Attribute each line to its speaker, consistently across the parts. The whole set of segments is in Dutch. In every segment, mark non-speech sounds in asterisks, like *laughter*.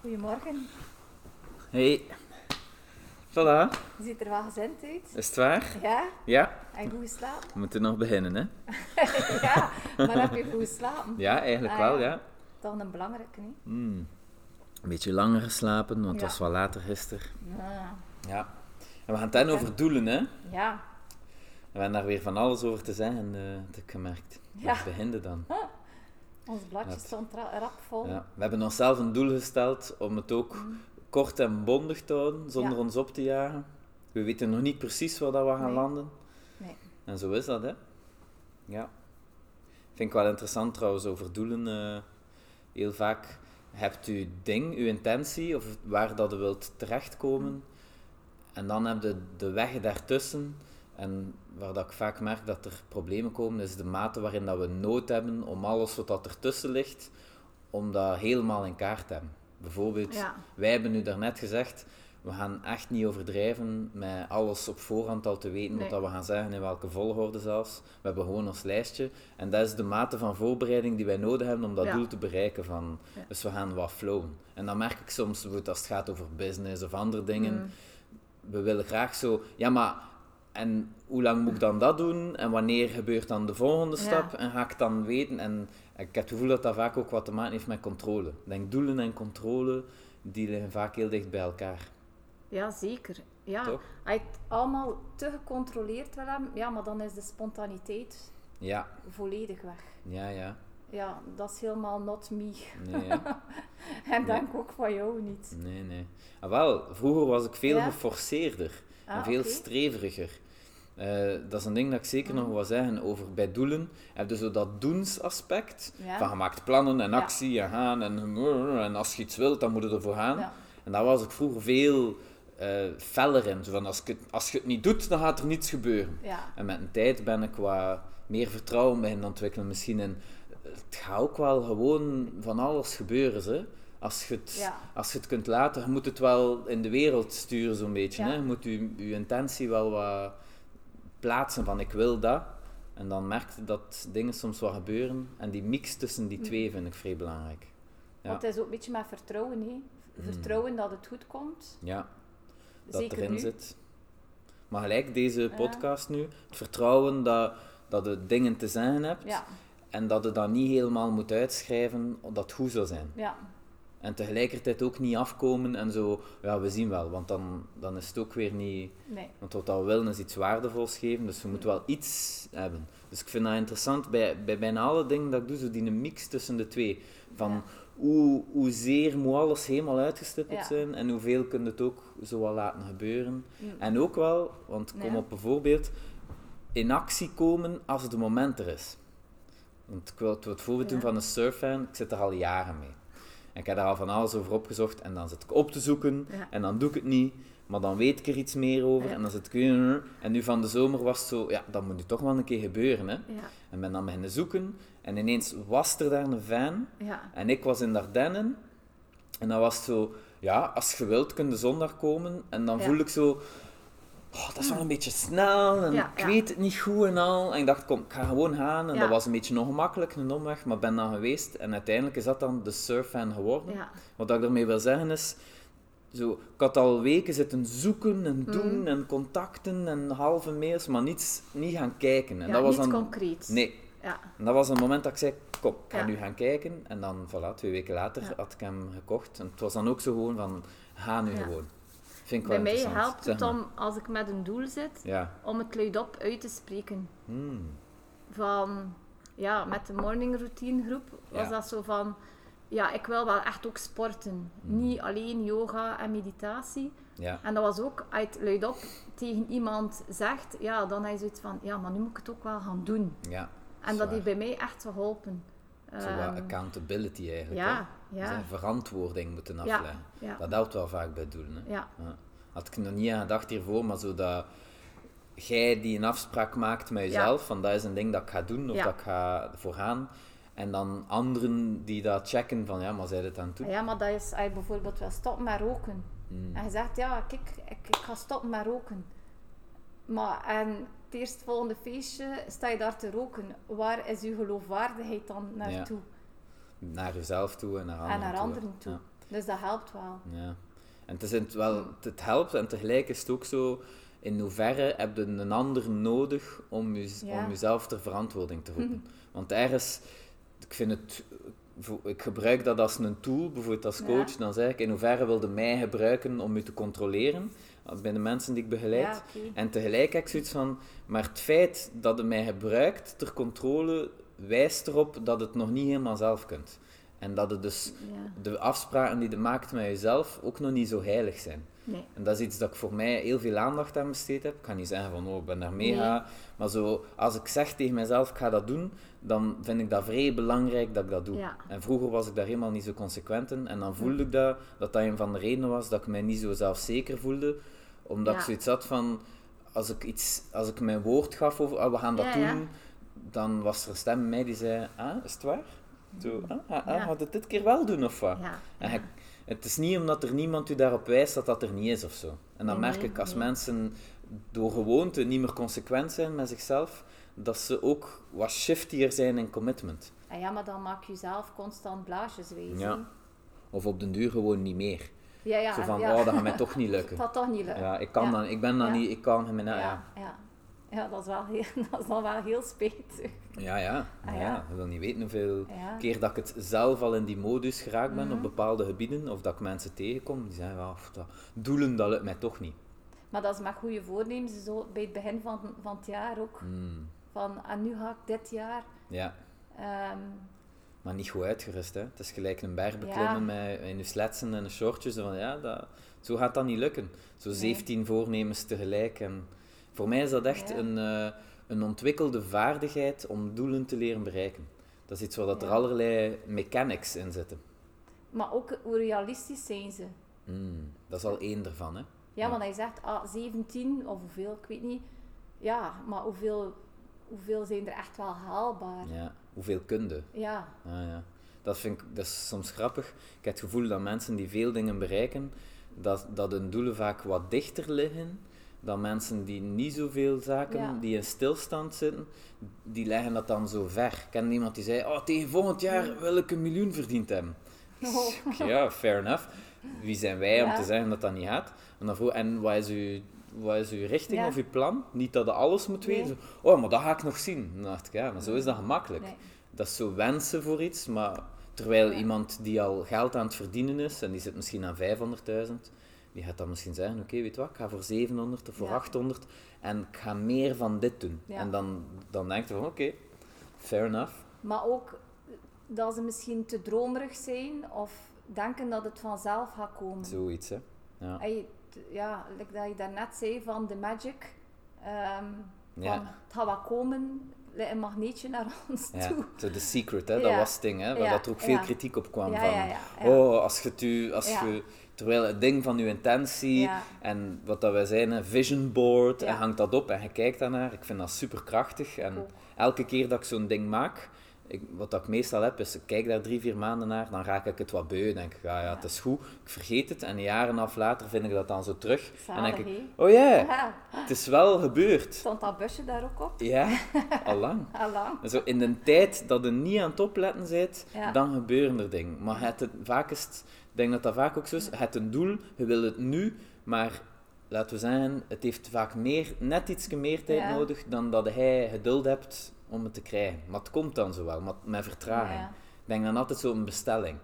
Speaker 1: Goedemorgen.
Speaker 2: Hey. Voilà.
Speaker 1: Je ziet er wel gezend uit.
Speaker 2: Is het waar?
Speaker 1: Ja?
Speaker 2: Ja.
Speaker 1: En goed geslapen? *laughs*
Speaker 2: We moeten nog beginnen, hè?
Speaker 1: ja, maar heb je goed geslapen?
Speaker 2: Ja, eigenlijk
Speaker 1: Ah,
Speaker 2: wel,
Speaker 1: ja.
Speaker 2: ja.
Speaker 1: Toch een belangrijke, niet?
Speaker 2: Mm. Een beetje langer geslapen, want het
Speaker 1: Ja.
Speaker 2: was wel later gisteren.
Speaker 1: Ja.
Speaker 2: Ja. En we gaan het dan over doelen, hè? En
Speaker 1: Ja.
Speaker 2: we hebben daar weer van alles over te zeggen, eh heb ik gemerkt.
Speaker 1: Ja.
Speaker 2: We beginnen dan.
Speaker 1: Ons bladje
Speaker 2: Dat-
Speaker 1: stond ra- rap vol. Mm.
Speaker 2: Ja. We hebben onszelf een doel gesteld om het ook kort en bondig te houden, zonder
Speaker 1: Ja.
Speaker 2: ons op te jagen. We weten nog niet precies waar dat we gaan
Speaker 1: Nee.
Speaker 2: landen.
Speaker 1: Nee.
Speaker 2: En zo is dat, hè? Ja. Vind ik wel interessant trouwens over doelen. eh, heel vaak hebt u ding, uw intentie, of waar dat u wilt terechtkomen. En dan heb je de weg daartussen. En waar dat ik vaak merk dat er problemen komen, is de mate waarin dat we nood hebben om alles wat dat ertussen ligt, om dat helemaal in kaart te hebben. Bijvoorbeeld,
Speaker 1: Ja.
Speaker 2: wij hebben nu daarnet gezegd, we gaan echt niet overdrijven met alles op voorhand al te weten
Speaker 1: Nee.
Speaker 2: wat dat we gaan zeggen, in welke volgorde zelfs. We hebben gewoon ons lijstje. En dat is de mate van voorbereiding die wij nodig hebben om dat
Speaker 1: Ja.
Speaker 2: doel te bereiken. Van,
Speaker 1: Ja.
Speaker 2: Dus we gaan wat flowen. En dan merk ik soms, bijvoorbeeld als het gaat over business of andere dingen,
Speaker 1: Mm.
Speaker 2: we willen graag zo, ja maar, en hoe lang moet ik dan dat doen? En wanneer gebeurt dan de volgende
Speaker 1: Ja.
Speaker 2: stap? En ga ik dan weten? En ik heb het gevoel dat dat vaak ook wat te maken heeft met controle. Ik denk doelen en controle, die liggen vaak heel dicht bij elkaar.
Speaker 1: Ja, zeker. Ja.
Speaker 2: Toch?
Speaker 1: Als je het allemaal te gecontroleerd wil hebben, ja, maar dan is de spontaniteit
Speaker 2: Ja,
Speaker 1: volledig weg.
Speaker 2: ja, ja.
Speaker 1: Ja, dat is helemaal not me. *laughs*
Speaker 2: Nee, ja.
Speaker 1: En denk ook van jou niet.
Speaker 2: Nee, nee. Ah, wel, vroeger was ik veel
Speaker 1: Ja?
Speaker 2: geforceerder en
Speaker 1: Ah,
Speaker 2: veel
Speaker 1: oké. Ah.
Speaker 2: streveriger. Eh, dat is een ding dat ik zeker nog wil zeggen over bij doelen. Heb je zo dat doensaspect?
Speaker 1: Ja.
Speaker 2: Van je maakt plannen en
Speaker 1: Ja.
Speaker 2: actie en gaan en, en als je iets wilt, dan moet je ervoor gaan.
Speaker 1: Ja.
Speaker 2: En daar was ik vroeger veel eh feller in. Zo van als, ik het, als je het niet doet, dan gaat er niets gebeuren.
Speaker 1: Ja.
Speaker 2: En met een tijd ben ik qua meer vertrouwen beginnen ontwikkelen. Misschien in, het gaat ook wel gewoon van alles gebeuren. Hè? Als, je het,
Speaker 1: Ja.
Speaker 2: als je het kunt laten, je moet het wel in de wereld sturen zo'n beetje.
Speaker 1: Ja.
Speaker 2: Hè? Je moet je, je intentie wel wat plaatsen van ik wil dat. En dan merk je dat dingen soms wel gebeuren. En die mix tussen die
Speaker 1: Mm.
Speaker 2: twee vind ik vrij belangrijk. Ja.
Speaker 1: Want het is ook een beetje met vertrouwen, hè. Vertrouwen dat het goed komt.
Speaker 2: Ja. Mm. dat
Speaker 1: zeker
Speaker 2: erin
Speaker 1: nu.
Speaker 2: zit. Maar gelijk deze podcast nu, het vertrouwen dat, dat je dingen te zeggen hebt
Speaker 1: Ja.
Speaker 2: en dat je dat niet helemaal moet uitschrijven dat het goed zal zijn.
Speaker 1: Ja.
Speaker 2: En tegelijkertijd ook niet afkomen en zo, ja, we zien wel, want dan, dan is het ook weer niet...
Speaker 1: Nee.
Speaker 2: Want wat we willen is iets waardevols geven, dus we moeten wel iets hebben. Dus ik vind dat interessant bij, bij bijna alle dingen dat ik doe, zo die mix tussen de twee. Van
Speaker 1: Ja.
Speaker 2: hoe, hoezeer moet alles helemaal uitgestippeld
Speaker 1: Ja.
Speaker 2: zijn en hoeveel kun je het ook zo wel laten gebeuren.
Speaker 1: Mm.
Speaker 2: En ook wel, want ik kom
Speaker 1: Ja.
Speaker 2: op bijvoorbeeld, in actie komen als het moment er is. Want ik wil het, wil het voorbeeld doen
Speaker 1: Ja.
Speaker 2: van een surffan, ik zit er al jaren mee. En ik heb daar al van alles over opgezocht en dan zit ik op te zoeken
Speaker 1: Ja.
Speaker 2: en dan doe ik het niet. Maar dan weet ik er iets meer over
Speaker 1: Ja.
Speaker 2: en dan zit ik weer... En nu van de zomer was het zo, ja, dat moet nu toch wel een keer gebeuren, hè.
Speaker 1: Ja.
Speaker 2: En ben dan beginnen zoeken en ineens was er daar een fan
Speaker 1: Ja.
Speaker 2: en ik was in Ardennen. En dan was het zo, ja, als je wilt kun je zondag komen. En dan
Speaker 1: Ja. Hm.
Speaker 2: voel ik zo, oh, dat is wel een beetje snel. En
Speaker 1: Ja,
Speaker 2: ik
Speaker 1: ja.
Speaker 2: weet het niet goed en al. En ik dacht, kom, ik ga gewoon gaan. En
Speaker 1: Ja.
Speaker 2: dat was een beetje ongemakkelijk, een omweg. Maar ben dan geweest. En uiteindelijk is dat dan de surffan geworden.
Speaker 1: Ja.
Speaker 2: Wat ik daarmee wil zeggen is... Zo, ik had al weken zitten zoeken en
Speaker 1: Hm.
Speaker 2: doen en contacten en halve mails, maar niets, niet gaan kijken. En
Speaker 1: Ja,
Speaker 2: dat was
Speaker 1: niet
Speaker 2: dan...
Speaker 1: concreet.
Speaker 2: Nee,
Speaker 1: Ja.
Speaker 2: en dat was een moment dat ik zei, kom, ik ga
Speaker 1: Ja.
Speaker 2: nu gaan kijken. En dan, voilà, twee weken later
Speaker 1: Ja.
Speaker 2: had ik hem gekocht. En het was dan ook zo gewoon van, ga nu
Speaker 1: Ja.
Speaker 2: gewoon. Vind ik
Speaker 1: Bij
Speaker 2: wel
Speaker 1: mij
Speaker 2: interessant.
Speaker 1: helpt
Speaker 2: Zeg
Speaker 1: het
Speaker 2: maar.
Speaker 1: om, als ik met een doel zit,
Speaker 2: Ja.
Speaker 1: om het luidop uit te spreken.
Speaker 2: Hmm.
Speaker 1: Van, ja, met de morning routine groep was
Speaker 2: Ja.
Speaker 1: dat zo van, ja, ik wil wel echt ook sporten.
Speaker 2: Hmm.
Speaker 1: Niet alleen yoga en meditatie.
Speaker 2: Ja.
Speaker 1: En dat was ook, als je het luidop tegen iemand zegt, ja, dan heb je zoiets van, ja, maar nu moet ik het ook wel gaan doen.
Speaker 2: Ja.
Speaker 1: En dat
Speaker 2: Zwaar.
Speaker 1: heeft bij mij echt geholpen.
Speaker 2: Zo wat
Speaker 1: Ehm,
Speaker 2: accountability eigenlijk.
Speaker 1: ja,
Speaker 2: hè.
Speaker 1: ja.
Speaker 2: Zijn verantwoording moeten
Speaker 1: Ja,
Speaker 2: afleggen.
Speaker 1: ja.
Speaker 2: Dat helpt wel vaak bij doelen. Hè.
Speaker 1: Ja.
Speaker 2: Ja. Had ik nog niet aan gedacht hiervoor, maar zo dat jij die een afspraak maakt met jezelf, van dat is een ding dat ik ga doen of
Speaker 1: Ja.
Speaker 2: dat ik ga voor gaan. En dan anderen die dat checken van, ja, maar zij dit aan het doen?
Speaker 1: Ah Ja, maar dat is als je bijvoorbeeld wil stoppen met roken.
Speaker 2: Hmm.
Speaker 1: En je zegt, ja, kijk, ik, ik ga stoppen met roken. Maar en het eerstvolgende feestje sta je daar te roken. Waar is je geloofwaardigheid dan naartoe?
Speaker 2: naar jezelf toe en naar anderen
Speaker 1: en naar
Speaker 2: toe. hè.
Speaker 1: anderen toe.
Speaker 2: Ja.
Speaker 1: Dus dat helpt wel.
Speaker 2: Ja. En het, is in het, wel, het helpt en tegelijk is het ook zo, in hoeverre heb je een ander nodig om, je,
Speaker 1: Ja. Mhm.
Speaker 2: om jezelf ter verantwoording te roepen. Want ergens, ik vind het, voor- ik gebruik dat als een tool, bijvoorbeeld als
Speaker 1: Ja.
Speaker 2: coach, dan zeg ik, in hoeverre wilde mij gebruiken om je te controleren, bij de mensen die ik begeleid.
Speaker 1: Ja, oké.
Speaker 2: En tegelijk heb ik zoiets van, maar het feit dat het mij gebruikt ter controle, wijst erop dat het nog niet helemaal zelf kunt. En dat het dus
Speaker 1: Ja.
Speaker 2: de afspraken die je maakt met jezelf ook nog niet zo heilig zijn.
Speaker 1: Nee.
Speaker 2: En dat is iets dat ik voor mij heel veel aandacht aan besteed heb. Ik kan niet zeggen van, oh, ik ben daar mega. Maar zo, als ik zeg tegen mezelf, ik ga dat doen, dan vind ik dat vrij belangrijk dat ik dat doe.
Speaker 1: Ja.
Speaker 2: En vroeger was ik daar helemaal niet zo consequent in. En dan voelde ik dat, dat dat een van de redenen was dat ik mij niet zo zelfzeker voelde. Omdat
Speaker 1: Ja.
Speaker 2: ik zoiets had van, als ik, iets, als ik mijn woord gaf over, ah, we gaan dat
Speaker 1: Ja,
Speaker 2: doen,
Speaker 1: ja.
Speaker 2: dan was er een stem in mij die zei, ah, is het waar? Zo, ah, ah, ah,
Speaker 1: Ja.
Speaker 2: gaat het dit keer wel doen of wat?
Speaker 1: Ja.
Speaker 2: En je- het is niet omdat er niemand u daarop wijst dat dat er niet is of zo. En dan
Speaker 1: Nee,
Speaker 2: merk
Speaker 1: nee,
Speaker 2: ik als
Speaker 1: nee.
Speaker 2: mensen door gewoonte niet meer consequent zijn met zichzelf, dat ze ook wat shiftier zijn in commitment.
Speaker 1: Ah ja, maar dan maak je zelf constant blaasjes wezen.
Speaker 2: Ja. Of op den duur gewoon niet meer.
Speaker 1: ja, ja.
Speaker 2: zo van,
Speaker 1: ja.
Speaker 2: oh, dat gaat mij toch niet lukken.
Speaker 1: *laughs* Dat toch niet lukt.
Speaker 2: Ja, ik kan
Speaker 1: Ja.
Speaker 2: dan, ik ben dan
Speaker 1: Ja.
Speaker 2: niet, ik kan hem nou, ja.
Speaker 1: ja. ja. Ja, dat is, wel heel, *laughs* dat is dan wel heel spijtig.
Speaker 2: Ja, ja.
Speaker 1: Ah,
Speaker 2: ja.
Speaker 1: ja.
Speaker 2: Je wil niet weten hoeveel
Speaker 1: Ja. Mhm.
Speaker 2: keer dat ik het zelf al in die modus geraakt ben op bepaalde gebieden, of dat ik mensen tegenkom, die zeggen, ja, pff, dat, doelen, dat lukt mij toch niet.
Speaker 1: Maar dat is met goede voornemens, zo bij het begin van, van het jaar ook.
Speaker 2: Hmm.
Speaker 1: Van, en nu ga ik dit jaar...
Speaker 2: Ja.
Speaker 1: ehm,
Speaker 2: Maar niet goed uitgerust, hè. Het is gelijk een berg beklimmen met, in je sletsen en je shortjes. Van, ja, dat, zo gaat dat niet lukken. Zo 17 voornemens tegelijk. En voor mij is dat echt
Speaker 1: Ja.
Speaker 2: een, eh, een ontwikkelde vaardigheid om doelen te leren bereiken. Dat is iets waar dat er
Speaker 1: Ja.
Speaker 2: allerlei mechanics in zitten.
Speaker 1: maar ook, hoe realistisch zijn ze?
Speaker 2: Hmm, dat is al één ervan, hè.
Speaker 1: Ja,
Speaker 2: Ja.
Speaker 1: want hij zegt ah, 17 of hoeveel, ik weet niet. Ja, maar hoeveel, hoeveel zijn er echt wel haalbaar? Ja.
Speaker 2: Ja. Hoeveel kunde.
Speaker 1: Ja, *laughs*
Speaker 2: Ah, ja. Dat vind ik dat is soms grappig. Ik heb het gevoel dat mensen die veel dingen bereiken, dat, dat hun doelen vaak wat dichter liggen dan mensen die niet zoveel zaken,
Speaker 1: Ja.
Speaker 2: die in stilstand zitten, die leggen dat dan zo ver. Ik ken iemand die zei, oh, tegen volgend jaar wil ik een miljoen verdiend hebben.
Speaker 1: Oh.
Speaker 2: Oké, Ja, fair enough. Wie zijn wij om
Speaker 1: Ja.
Speaker 2: te zeggen dat dat niet gaat? En, dan vroeg, en wat, is uw, wat is uw richting
Speaker 1: Ja.
Speaker 2: of uw plan? Niet dat je alles moet
Speaker 1: Nee.
Speaker 2: weten. Zo, oh, maar dat ga ik nog zien. Dan dacht ik, ja, maar zo is dat gemakkelijk.
Speaker 1: nee.
Speaker 2: Dat is zo wensen voor iets, maar terwijl
Speaker 1: Ja.
Speaker 2: iemand die al geld aan het verdienen is, en die zit misschien aan 500.000, die gaat dan misschien zeggen, oké, weet je wat, ik ga voor 700 of voor
Speaker 1: Ja.
Speaker 2: 800 en ik ga meer van dit doen.
Speaker 1: Ja.
Speaker 2: En dan, dan denkt je van, oké, fair enough.
Speaker 1: Maar ook dat ze misschien te dromerig zijn of denken dat het vanzelf gaat komen.
Speaker 2: Zoiets, hè. Ja.
Speaker 1: Hey, t- ja, like dat je daarnet zei van de magic. ehm, *laughs*
Speaker 2: Ja.
Speaker 1: van, het gaat wel komen, like een magneetje naar *laughs* ons
Speaker 2: Ja,
Speaker 1: toe.
Speaker 2: zo The Secret, hè, dat
Speaker 1: Ja.
Speaker 2: was het ding, hè, waar
Speaker 1: Ja,
Speaker 2: dat er ook veel
Speaker 1: ja.
Speaker 2: kritiek op kwam.
Speaker 1: Ja,
Speaker 2: van,
Speaker 1: ja, ja, ja.
Speaker 2: Oh, als je het u, als
Speaker 1: Ja.
Speaker 2: je, terwijl het ding van uw intentie
Speaker 1: Ja.
Speaker 2: en wat dat wij zijn, een vision board, en
Speaker 1: Ja.
Speaker 2: hangt dat op en je kijkt daarnaar. Ik vind dat superkrachtig. En
Speaker 1: Ook.
Speaker 2: elke keer dat ik zo'n ding maak, ik, wat dat ik meestal heb, is ik kijk daar drie, vier maanden naar, dan raak ik het wat beu. Denk ik, ah, ja, ja, het is goed. Ik vergeet het en een jaar en een half later vind ik dat dan zo terug. en
Speaker 1: Zalig,
Speaker 2: denk ik,
Speaker 1: hè?
Speaker 2: oh ja,
Speaker 1: Ja.
Speaker 2: het is wel gebeurd.
Speaker 1: Stond dat busje daar ook op? *laughs*
Speaker 2: Ja, allang.
Speaker 1: Allang.
Speaker 2: Zo in de tijd dat je niet aan het opletten bent,
Speaker 1: Ja.
Speaker 2: dan gebeuren er dingen. Maar het, het- vaak is het, ik denk dat dat vaak ook zo is, het een doel, je wil het nu, maar laten we zeggen, het heeft vaak meer, net iets meer tijd
Speaker 1: Ja.
Speaker 2: nodig dan dat hij geduld hebt om het te krijgen. Maar het komt dan zo wel, maar met vertraging.
Speaker 1: Ja.
Speaker 2: Ik denk dan altijd zo'n bestelling.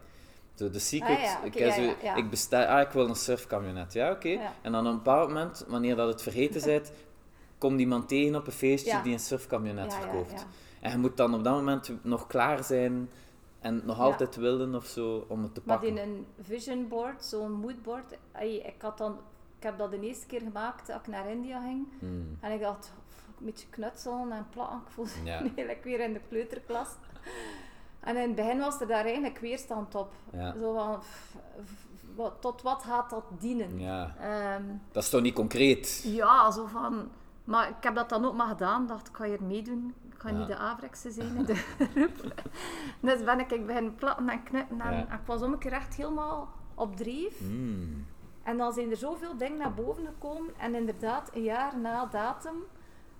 Speaker 2: Zo, de secret,
Speaker 1: Ah, ja,
Speaker 2: ik,
Speaker 1: oké,
Speaker 2: heb
Speaker 1: ja,
Speaker 2: zo-
Speaker 1: ja, ja.
Speaker 2: ik bestel, ah, ik wil een surfkamionet. Ja, oké.
Speaker 1: Ja.
Speaker 2: En dan op een bepaald moment, wanneer dat het
Speaker 1: *laughs*
Speaker 2: vergeten bent, komt iemand tegen op een feestje
Speaker 1: Ja.
Speaker 2: die een surfkamionet
Speaker 1: Ja, ja,
Speaker 2: verkoopt.
Speaker 1: ja.
Speaker 2: En je moet dan op dat moment nog klaar zijn en het nog
Speaker 1: Ja.
Speaker 2: altijd willen of zo om het te
Speaker 1: Maar
Speaker 2: pakken.
Speaker 1: in een vision board, zo'n moodboard, ey, ik, had dan, ik heb dat de eerste keer gemaakt als ik naar India ging.
Speaker 2: Hmm.
Speaker 1: En ik dacht, pff, een beetje knutselen en plakken. Ik voelde
Speaker 2: Ja.
Speaker 1: *laughs* me eigenlijk weer in de kleuterklas. En in het begin was er daar eigenlijk weerstand op. *laughs*
Speaker 2: Ja.
Speaker 1: Zo van, pff, pff, wat- tot wat gaat dat dienen?
Speaker 2: ja,
Speaker 1: Ehm,
Speaker 2: dat is toch niet concreet?
Speaker 1: ja, zo van... Maar ik heb dat dan ook maar gedaan. dacht, ik ga hier meedoen. Ik ga
Speaker 2: Ja.
Speaker 1: niet de Avrikse zijn in de *laughs* groep. dus ben ik, ik begin platten en knutten. En,
Speaker 2: Ja.
Speaker 1: en ik was om een keer echt helemaal op dreef.
Speaker 2: Hmm.
Speaker 1: En dan zijn er zoveel dingen naar boven gekomen. En inderdaad, een jaar na datum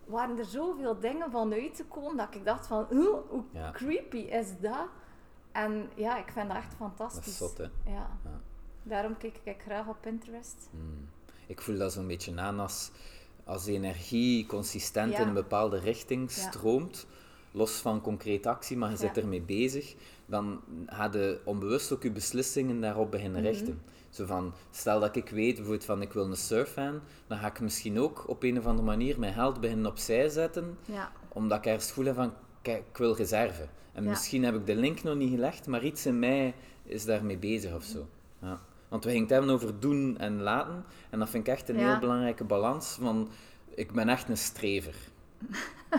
Speaker 1: waren er zoveel dingen vanuit te komen dat ik dacht van, "Oeh, hoe
Speaker 2: Ja.
Speaker 1: creepy is dat? En ja, ik vind dat echt
Speaker 2: Dat is
Speaker 1: fantastisch.
Speaker 2: zot, hè?
Speaker 1: ja.
Speaker 2: Ja.
Speaker 1: Daarom kijk ik graag op Pinterest.
Speaker 2: Hmm. Ik voel dat zo'n beetje aan als, als energie consistent
Speaker 1: Ja.
Speaker 2: in een bepaalde richting
Speaker 1: Ja.
Speaker 2: stroomt, los van concrete actie, maar je zit
Speaker 1: Ja.
Speaker 2: ermee bezig, dan ga je onbewust ook je beslissingen daarop beginnen
Speaker 1: Mhm.
Speaker 2: richten. Zo van, stel dat ik weet bijvoorbeeld van ik wil een surfhand, dan ga ik misschien ook op een of andere manier mijn geld beginnen opzij zetten,
Speaker 1: Ja,
Speaker 2: omdat ik ergens voel van, kijk, ik wil reserve. En
Speaker 1: Ja.
Speaker 2: misschien heb ik de link nog niet gelegd, maar iets in mij is daarmee bezig of zo. Ja. Want we gingen het hebben over doen en laten. En dat vind ik echt een
Speaker 1: Ja.
Speaker 2: heel belangrijke balans. Van, ik ben echt een strever.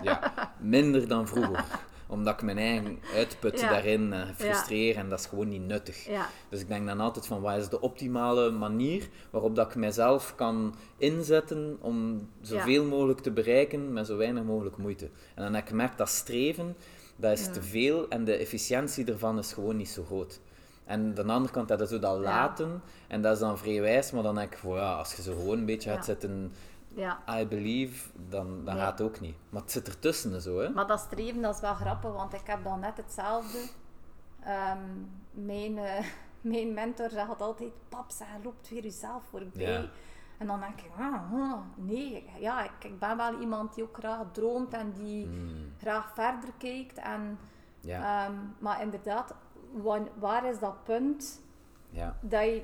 Speaker 2: ja. Minder
Speaker 1: *laughs*
Speaker 2: dan vroeger. Omdat ik mijn eigen uitput
Speaker 1: Ja.
Speaker 2: daarin eh, frustreer. En dat is gewoon niet nuttig.
Speaker 1: ja,
Speaker 2: Dus ik denk dan altijd van, wat is de optimale manier waarop dat ik mijzelf kan inzetten om zoveel mogelijk te bereiken met zo weinig mogelijk moeite. En dan heb ik gemerkt dat streven, dat is
Speaker 1: Ja.
Speaker 2: te veel en de efficiëntie ervan is gewoon niet zo groot. En aan de andere kant heb je zo dat laten, en dat is dan vrij wijs, maar dan denk ik van, ja, als je zo gewoon een beetje gaat
Speaker 1: Ja.
Speaker 2: zitten,
Speaker 1: ja.
Speaker 2: I believe, dan, dan
Speaker 1: Nee.
Speaker 2: gaat het ook niet. Maar het zit ertussen en zo, hè.
Speaker 1: Maar dat streven, dat is wel grappig, want ik heb dan net hetzelfde. Ehm, mijn, eh, *laughs* mijn mentor zegt altijd, pap, zeg, loopt weer jezelf voorbij.
Speaker 2: Ja.
Speaker 1: En dan denk ik, ah, ah, nee, ja, ik, ik ben wel iemand die ook graag droomt en die
Speaker 2: Hmm,
Speaker 1: graag verder kijkt. En,
Speaker 2: ja,
Speaker 1: ehm, maar inderdaad, wan- waar is dat punt
Speaker 2: ja,
Speaker 1: dat je,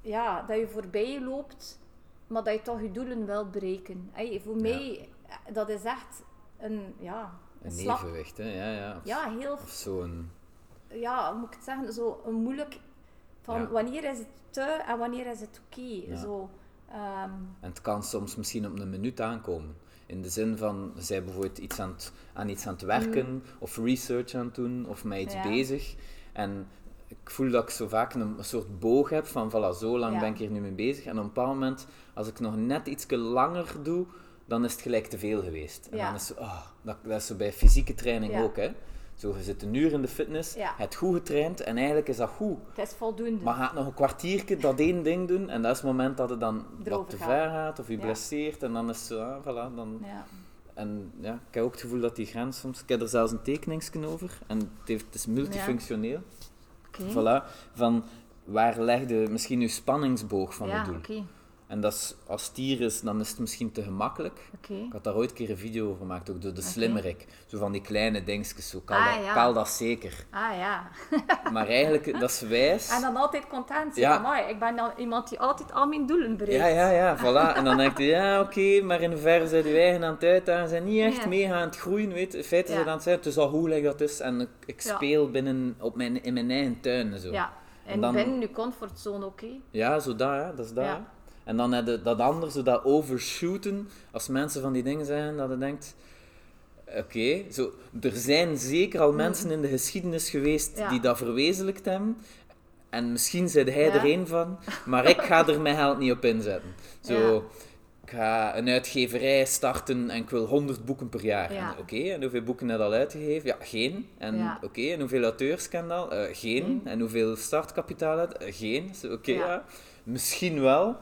Speaker 1: ja, dat je voorbij loopt, maar dat je toch je doelen wil bereiken. Hey, voor mij, eh, dat is echt een, ja, een,
Speaker 2: een
Speaker 1: slap...
Speaker 2: evenwicht, hè. Ja, ja. Of,
Speaker 1: Ja, heel...
Speaker 2: of zo'n...
Speaker 1: Ja, hoe moet ik het zeggen? Zo een moeilijk... Van
Speaker 2: Ja.
Speaker 1: wanneer is het te en wanneer is het oké?
Speaker 2: Ja.
Speaker 1: Zo... ehm,
Speaker 2: En het kan soms misschien op een minuut aankomen. In de zin van, ze zijn bijvoorbeeld iets aan, het, aan iets aan het werken, of research aan het doen, of met iets
Speaker 1: Mm. Ja.
Speaker 2: bezig. En ik voel dat ik zo vaak een soort boog heb van, voilà, zo lang
Speaker 1: Ja.
Speaker 2: ben ik hier nu mee bezig. En op een bepaald moment, als ik nog net iets langer doe, dan is het gelijk te veel geweest. En
Speaker 1: Ja.
Speaker 2: dan is zo, ah, dat, dat is zo bij fysieke training
Speaker 1: Ja.
Speaker 2: ook, hè. Zo, je zit een uur in de fitness,
Speaker 1: Ja.
Speaker 2: het goed getraind, en eigenlijk is dat goed.
Speaker 1: het is voldoende.
Speaker 2: Maar gaat nog een kwartiertje dat één ding doen en dat is het moment dat het dan
Speaker 1: Erover
Speaker 2: wat te
Speaker 1: gaat.
Speaker 2: ver gaat of je
Speaker 1: Ja.
Speaker 2: blesseert en dan is het zo, ah, voilà. Dan...
Speaker 1: Ja.
Speaker 2: En ja, ik heb ook het gevoel dat die grens soms, ik heb er zelfs een tekeningsken over en het, heeft, het is multifunctioneel.
Speaker 1: Oké.
Speaker 2: Voilà, van waar legde misschien je spanningsboog van
Speaker 1: ja,
Speaker 2: het doel?
Speaker 1: oké.
Speaker 2: En dat is, als het hier is, dan is het misschien te gemakkelijk.
Speaker 1: oké.
Speaker 2: Ik had daar ooit een keer een video over gemaakt, ook door de slimmerik. Zo van die kleine dingetjes, zo kaal,
Speaker 1: Ah,
Speaker 2: dat,
Speaker 1: ja.
Speaker 2: kaal dat zeker.
Speaker 1: Ah ja.
Speaker 2: Maar eigenlijk, dat is wijs.
Speaker 1: En dan altijd content zijn.
Speaker 2: Ja.
Speaker 1: Amai, ik ben dan iemand die altijd al mijn doelen bereikt.
Speaker 2: Ja, ja, ja, voilà. En dan denk je, ja, oké, maar in hoeverre zijn die eigen aan het uitdagen? Ze zijn niet echt
Speaker 1: Ja.
Speaker 2: mee aan het groeien, weet je. In feite
Speaker 1: Ja.
Speaker 2: zijn ze aan het zijn, het is al hoe leuk dat is. En ik, ik
Speaker 1: Ja.
Speaker 2: speel binnen, op mijn, in mijn eigen tuin en zo.
Speaker 1: Ja. En
Speaker 2: dan-
Speaker 1: binnen je comfortzone, oké.
Speaker 2: Ja, zo dat, hè. dat is dat.
Speaker 1: Ja.
Speaker 2: hè. En dan heb je dat andere, zo dat overshooten, als mensen van die dingen zijn, dat je denkt... Oké, zo er zijn zeker al mensen in de geschiedenis geweest
Speaker 1: Mm. Ja.
Speaker 2: die dat verwezenlijkt hebben. En misschien zit hij
Speaker 1: Ja.
Speaker 2: er één van, maar ik ga er mijn geld niet op inzetten. Zo,
Speaker 1: Ja.
Speaker 2: ik ga een uitgeverij starten en ik wil 100 boeken per jaar.
Speaker 1: Ja.
Speaker 2: En Oké, en hoeveel boeken heb je al uitgegeven? Ja, geen. En
Speaker 1: Ja.
Speaker 2: oké, en hoeveel auteurs ken je al? Eh, geen.
Speaker 1: Geen.
Speaker 2: En hoeveel startkapitaal heb je? Eh, geen. Zo, Oké,
Speaker 1: Ja.
Speaker 2: ja. Misschien wel.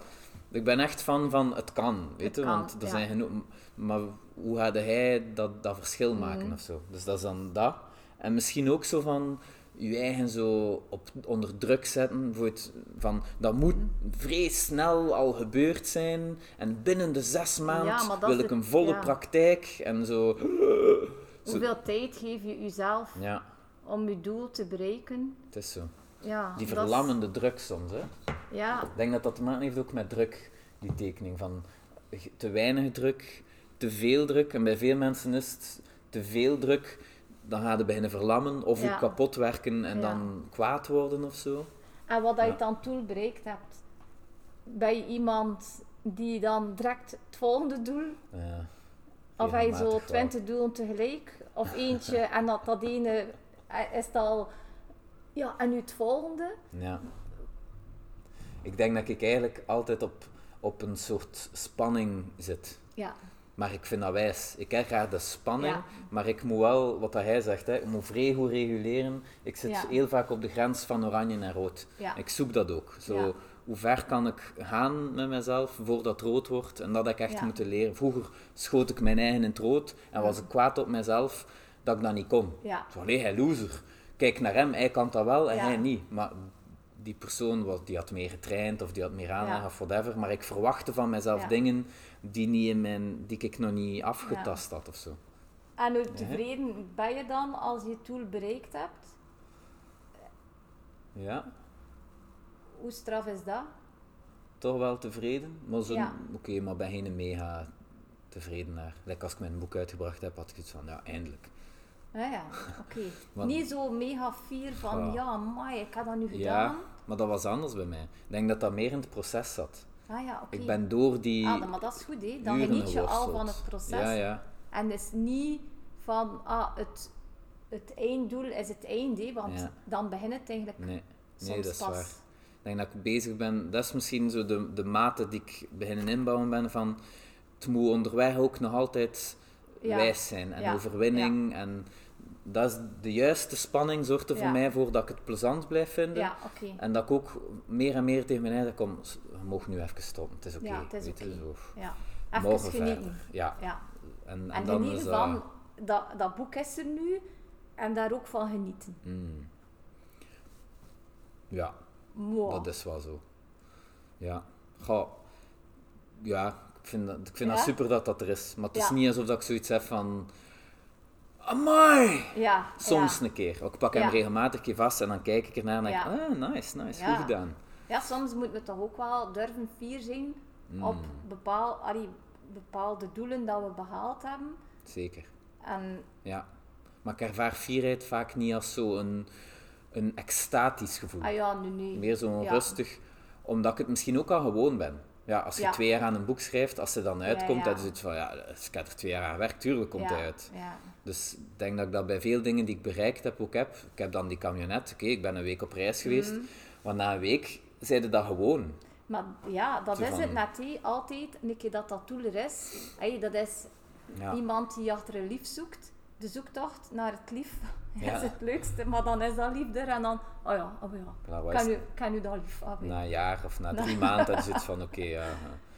Speaker 2: Ik ben echt fan van het kan, weet
Speaker 1: Het
Speaker 2: je,
Speaker 1: kan,
Speaker 2: want er
Speaker 1: ja.
Speaker 2: zijn genoeg... Maar hoe gaat hij dat, dat verschil maken
Speaker 1: Mhm.
Speaker 2: of zo? Dus dat is dan dat. En misschien ook zo van je eigen zo op, onder druk zetten. Bijvoorbeeld van, dat moet
Speaker 1: Mhm.
Speaker 2: vrij snel al gebeurd zijn. En binnen de zes maanden
Speaker 1: maar dat
Speaker 2: wil
Speaker 1: is
Speaker 2: ik
Speaker 1: de-
Speaker 2: een volle
Speaker 1: ja.
Speaker 2: praktijk. En zo... Zo-
Speaker 1: Hoeveel tijd geef je jezelf
Speaker 2: Ja,
Speaker 1: om je doel te bereiken?
Speaker 2: het is zo.
Speaker 1: Ja,
Speaker 2: Die
Speaker 1: Ah, dat is-
Speaker 2: verlammende druk soms, hè.
Speaker 1: Ja,
Speaker 2: Ik denk dat dat te maken heeft ook met druk, die tekening. Van g- te weinig druk, te veel druk. En bij veel mensen is het te veel druk, dan gaat het beginnen verlammen of
Speaker 1: Ja.
Speaker 2: ook kapot werken en
Speaker 1: Ja.
Speaker 2: dan kwaad worden of zo.
Speaker 1: En wat dat je
Speaker 2: Ja.
Speaker 1: dan toen bereikt hebt, ben je iemand die dan direct het volgende doel,
Speaker 2: Ja,
Speaker 1: of heb je
Speaker 2: Eh, regelmatig
Speaker 1: zo
Speaker 2: wel.
Speaker 1: twintig doelen tegelijk,
Speaker 2: *laughs*
Speaker 1: of eentje en dat, dat ene eh, is het al, ja, en nu het volgende?
Speaker 2: Ja. Ik denk dat ik eigenlijk altijd op, op een soort spanning zit.
Speaker 1: Ja,
Speaker 2: Maar ik vind dat wijs. Ik ervaar de spanning,
Speaker 1: Ja.
Speaker 2: maar ik moet wel, wat dat hij zegt, hè, ik moet vrij goed reguleren. Ik zit
Speaker 1: Ja.
Speaker 2: heel vaak op de grens van oranje en rood.
Speaker 1: ja,
Speaker 2: Ik zoek dat ook. Zo,
Speaker 1: Ja.
Speaker 2: Hoe ver kan ik gaan met mezelf voordat het rood wordt? En dat heb ik echt
Speaker 1: Ja.
Speaker 2: moeten leren. Vroeger schoot ik mijn eigen in het rood en was ik kwaad op mezelf dat ik dat niet kon.
Speaker 1: ja,
Speaker 2: Zo, nee, hij loser. Kijk naar hem, hij kan dat wel en
Speaker 1: Ja.
Speaker 2: hij niet. Maar die persoon was, die had meer getraind of die had meer aandacht
Speaker 1: Ja.
Speaker 2: of whatever. Maar ik verwachtte van mezelf
Speaker 1: Ja.
Speaker 2: dingen die, niet in mijn, die ik nog niet afgetast had of zo.
Speaker 1: En hoe tevreden ben je dan als je het doel bereikt hebt?
Speaker 2: Ja,
Speaker 1: Hoe straf is dat?
Speaker 2: toch wel tevreden. Maar zo,
Speaker 1: Ja.
Speaker 2: oké, maar ben geen mega tevreden naar. Like als ik mijn boek uitgebracht heb, had ik iets van, ja, eindelijk.
Speaker 1: Ja, Ah, ja, oké.
Speaker 2: Want-
Speaker 1: Niet zo mega fier van,
Speaker 2: Ja.
Speaker 1: ja, amai, ik heb dat nu
Speaker 2: Ja,
Speaker 1: gedaan.
Speaker 2: maar dat was anders bij mij. Ik denk dat dat meer in het proces zat.
Speaker 1: Ah ja, oké.
Speaker 2: Ik ben door die
Speaker 1: Ah, dan- maar dat is goed, hè. Dan
Speaker 2: uren
Speaker 1: geniet je al
Speaker 2: geworsteld.
Speaker 1: van het proces.
Speaker 2: Ja, ja.
Speaker 1: En het is niet van, ah, het, het einddoel is het eind, hè, want
Speaker 2: Ja.
Speaker 1: dan begint het eigenlijk
Speaker 2: Nee,
Speaker 1: soms
Speaker 2: nee dat is
Speaker 1: pas.
Speaker 2: waar. Ik denk dat ik bezig ben, dat is misschien zo de, de mate die ik beginnen inbouwen ben van het moet onderweg ook nog altijd
Speaker 1: Ja.
Speaker 2: wijs zijn en
Speaker 1: Ja.
Speaker 2: overwinning en dat is de juiste spanning zorgt er voor
Speaker 1: Ja.
Speaker 2: mij voor dat ik het plezant blijf vinden
Speaker 1: Ja, oké.
Speaker 2: en dat ik ook meer en meer tegen mijn eigen kom, s- we mogen nu even stoppen, het is oké.
Speaker 1: Ja, het is
Speaker 2: weet je,
Speaker 1: oké.
Speaker 2: zo.
Speaker 1: Ja. Even
Speaker 2: Morgen
Speaker 1: genieten.
Speaker 2: verder. Ja.
Speaker 1: Ja.
Speaker 2: En, en,
Speaker 1: En,
Speaker 2: dan
Speaker 1: genieten
Speaker 2: is eh, dat-
Speaker 1: van, dat, dat boek is er nu, en daar ook van genieten.
Speaker 2: ja,
Speaker 1: Mooi.
Speaker 2: Dat is wel zo. Ja. Goh. Ja, ik vind, dat, ik vind
Speaker 1: Ja?
Speaker 2: dat super dat dat er is. Maar het is
Speaker 1: Ja.
Speaker 2: niet alsof dat ik zoiets heb van... Amai!
Speaker 1: Ja,
Speaker 2: Soms
Speaker 1: ja.
Speaker 2: een keer. Ook Ik pak hem
Speaker 1: Ja.
Speaker 2: regelmatig een keer vast en dan kijk ik ernaar en denk ik...
Speaker 1: Ja.
Speaker 2: Ah, nice, nice.
Speaker 1: Ja.
Speaker 2: Goed gedaan.
Speaker 1: Ja, soms moet men toch ook wel durven fier zijn
Speaker 2: Mm.
Speaker 1: op bepaal, allee, bepaalde doelen dat we behaald hebben.
Speaker 2: Zeker.
Speaker 1: En
Speaker 2: Ja. Maar ik ervaar fierheid vaak niet als zo'n een extatisch gevoel.
Speaker 1: ah ja, nu nee.
Speaker 2: Meer zo'n
Speaker 1: Ja.
Speaker 2: rustig, omdat ik het misschien ook al gewoon ben. Ja, als je
Speaker 1: Ja.
Speaker 2: twee jaar aan een boek schrijft, als ze dan uitkomt,
Speaker 1: ja.
Speaker 2: dat is het van ja, als ik heb er twee jaar aan werk, tuurlijk komt
Speaker 1: ja,
Speaker 2: hij uit.
Speaker 1: Ja.
Speaker 2: Dus ik denk dat ik dat bij veel dingen die ik bereikt heb ook heb. Ik heb dan die camionet, oké, ik ben een week op reis geweest,
Speaker 1: Mhm.
Speaker 2: maar na een week zeiden dat gewoon.
Speaker 1: Maar ja, dat
Speaker 2: Zo
Speaker 1: is
Speaker 2: van-
Speaker 1: het net. hé. Altijd, een keer dat dat doel er is, hé, dat is
Speaker 2: Ja.
Speaker 1: iemand die achter een lief zoekt. De zoektocht naar het lief *laughs*
Speaker 2: Ja.
Speaker 1: is het leukste, maar dan is dat liefde en dan, oh ja, oh ja,
Speaker 2: Voilà, wat is
Speaker 1: kan
Speaker 2: het?
Speaker 1: u, kan u dat lief hebben?
Speaker 2: Na een jaar
Speaker 1: *laughs*
Speaker 2: of na drie maanden, dat is het van oké, ja, ja.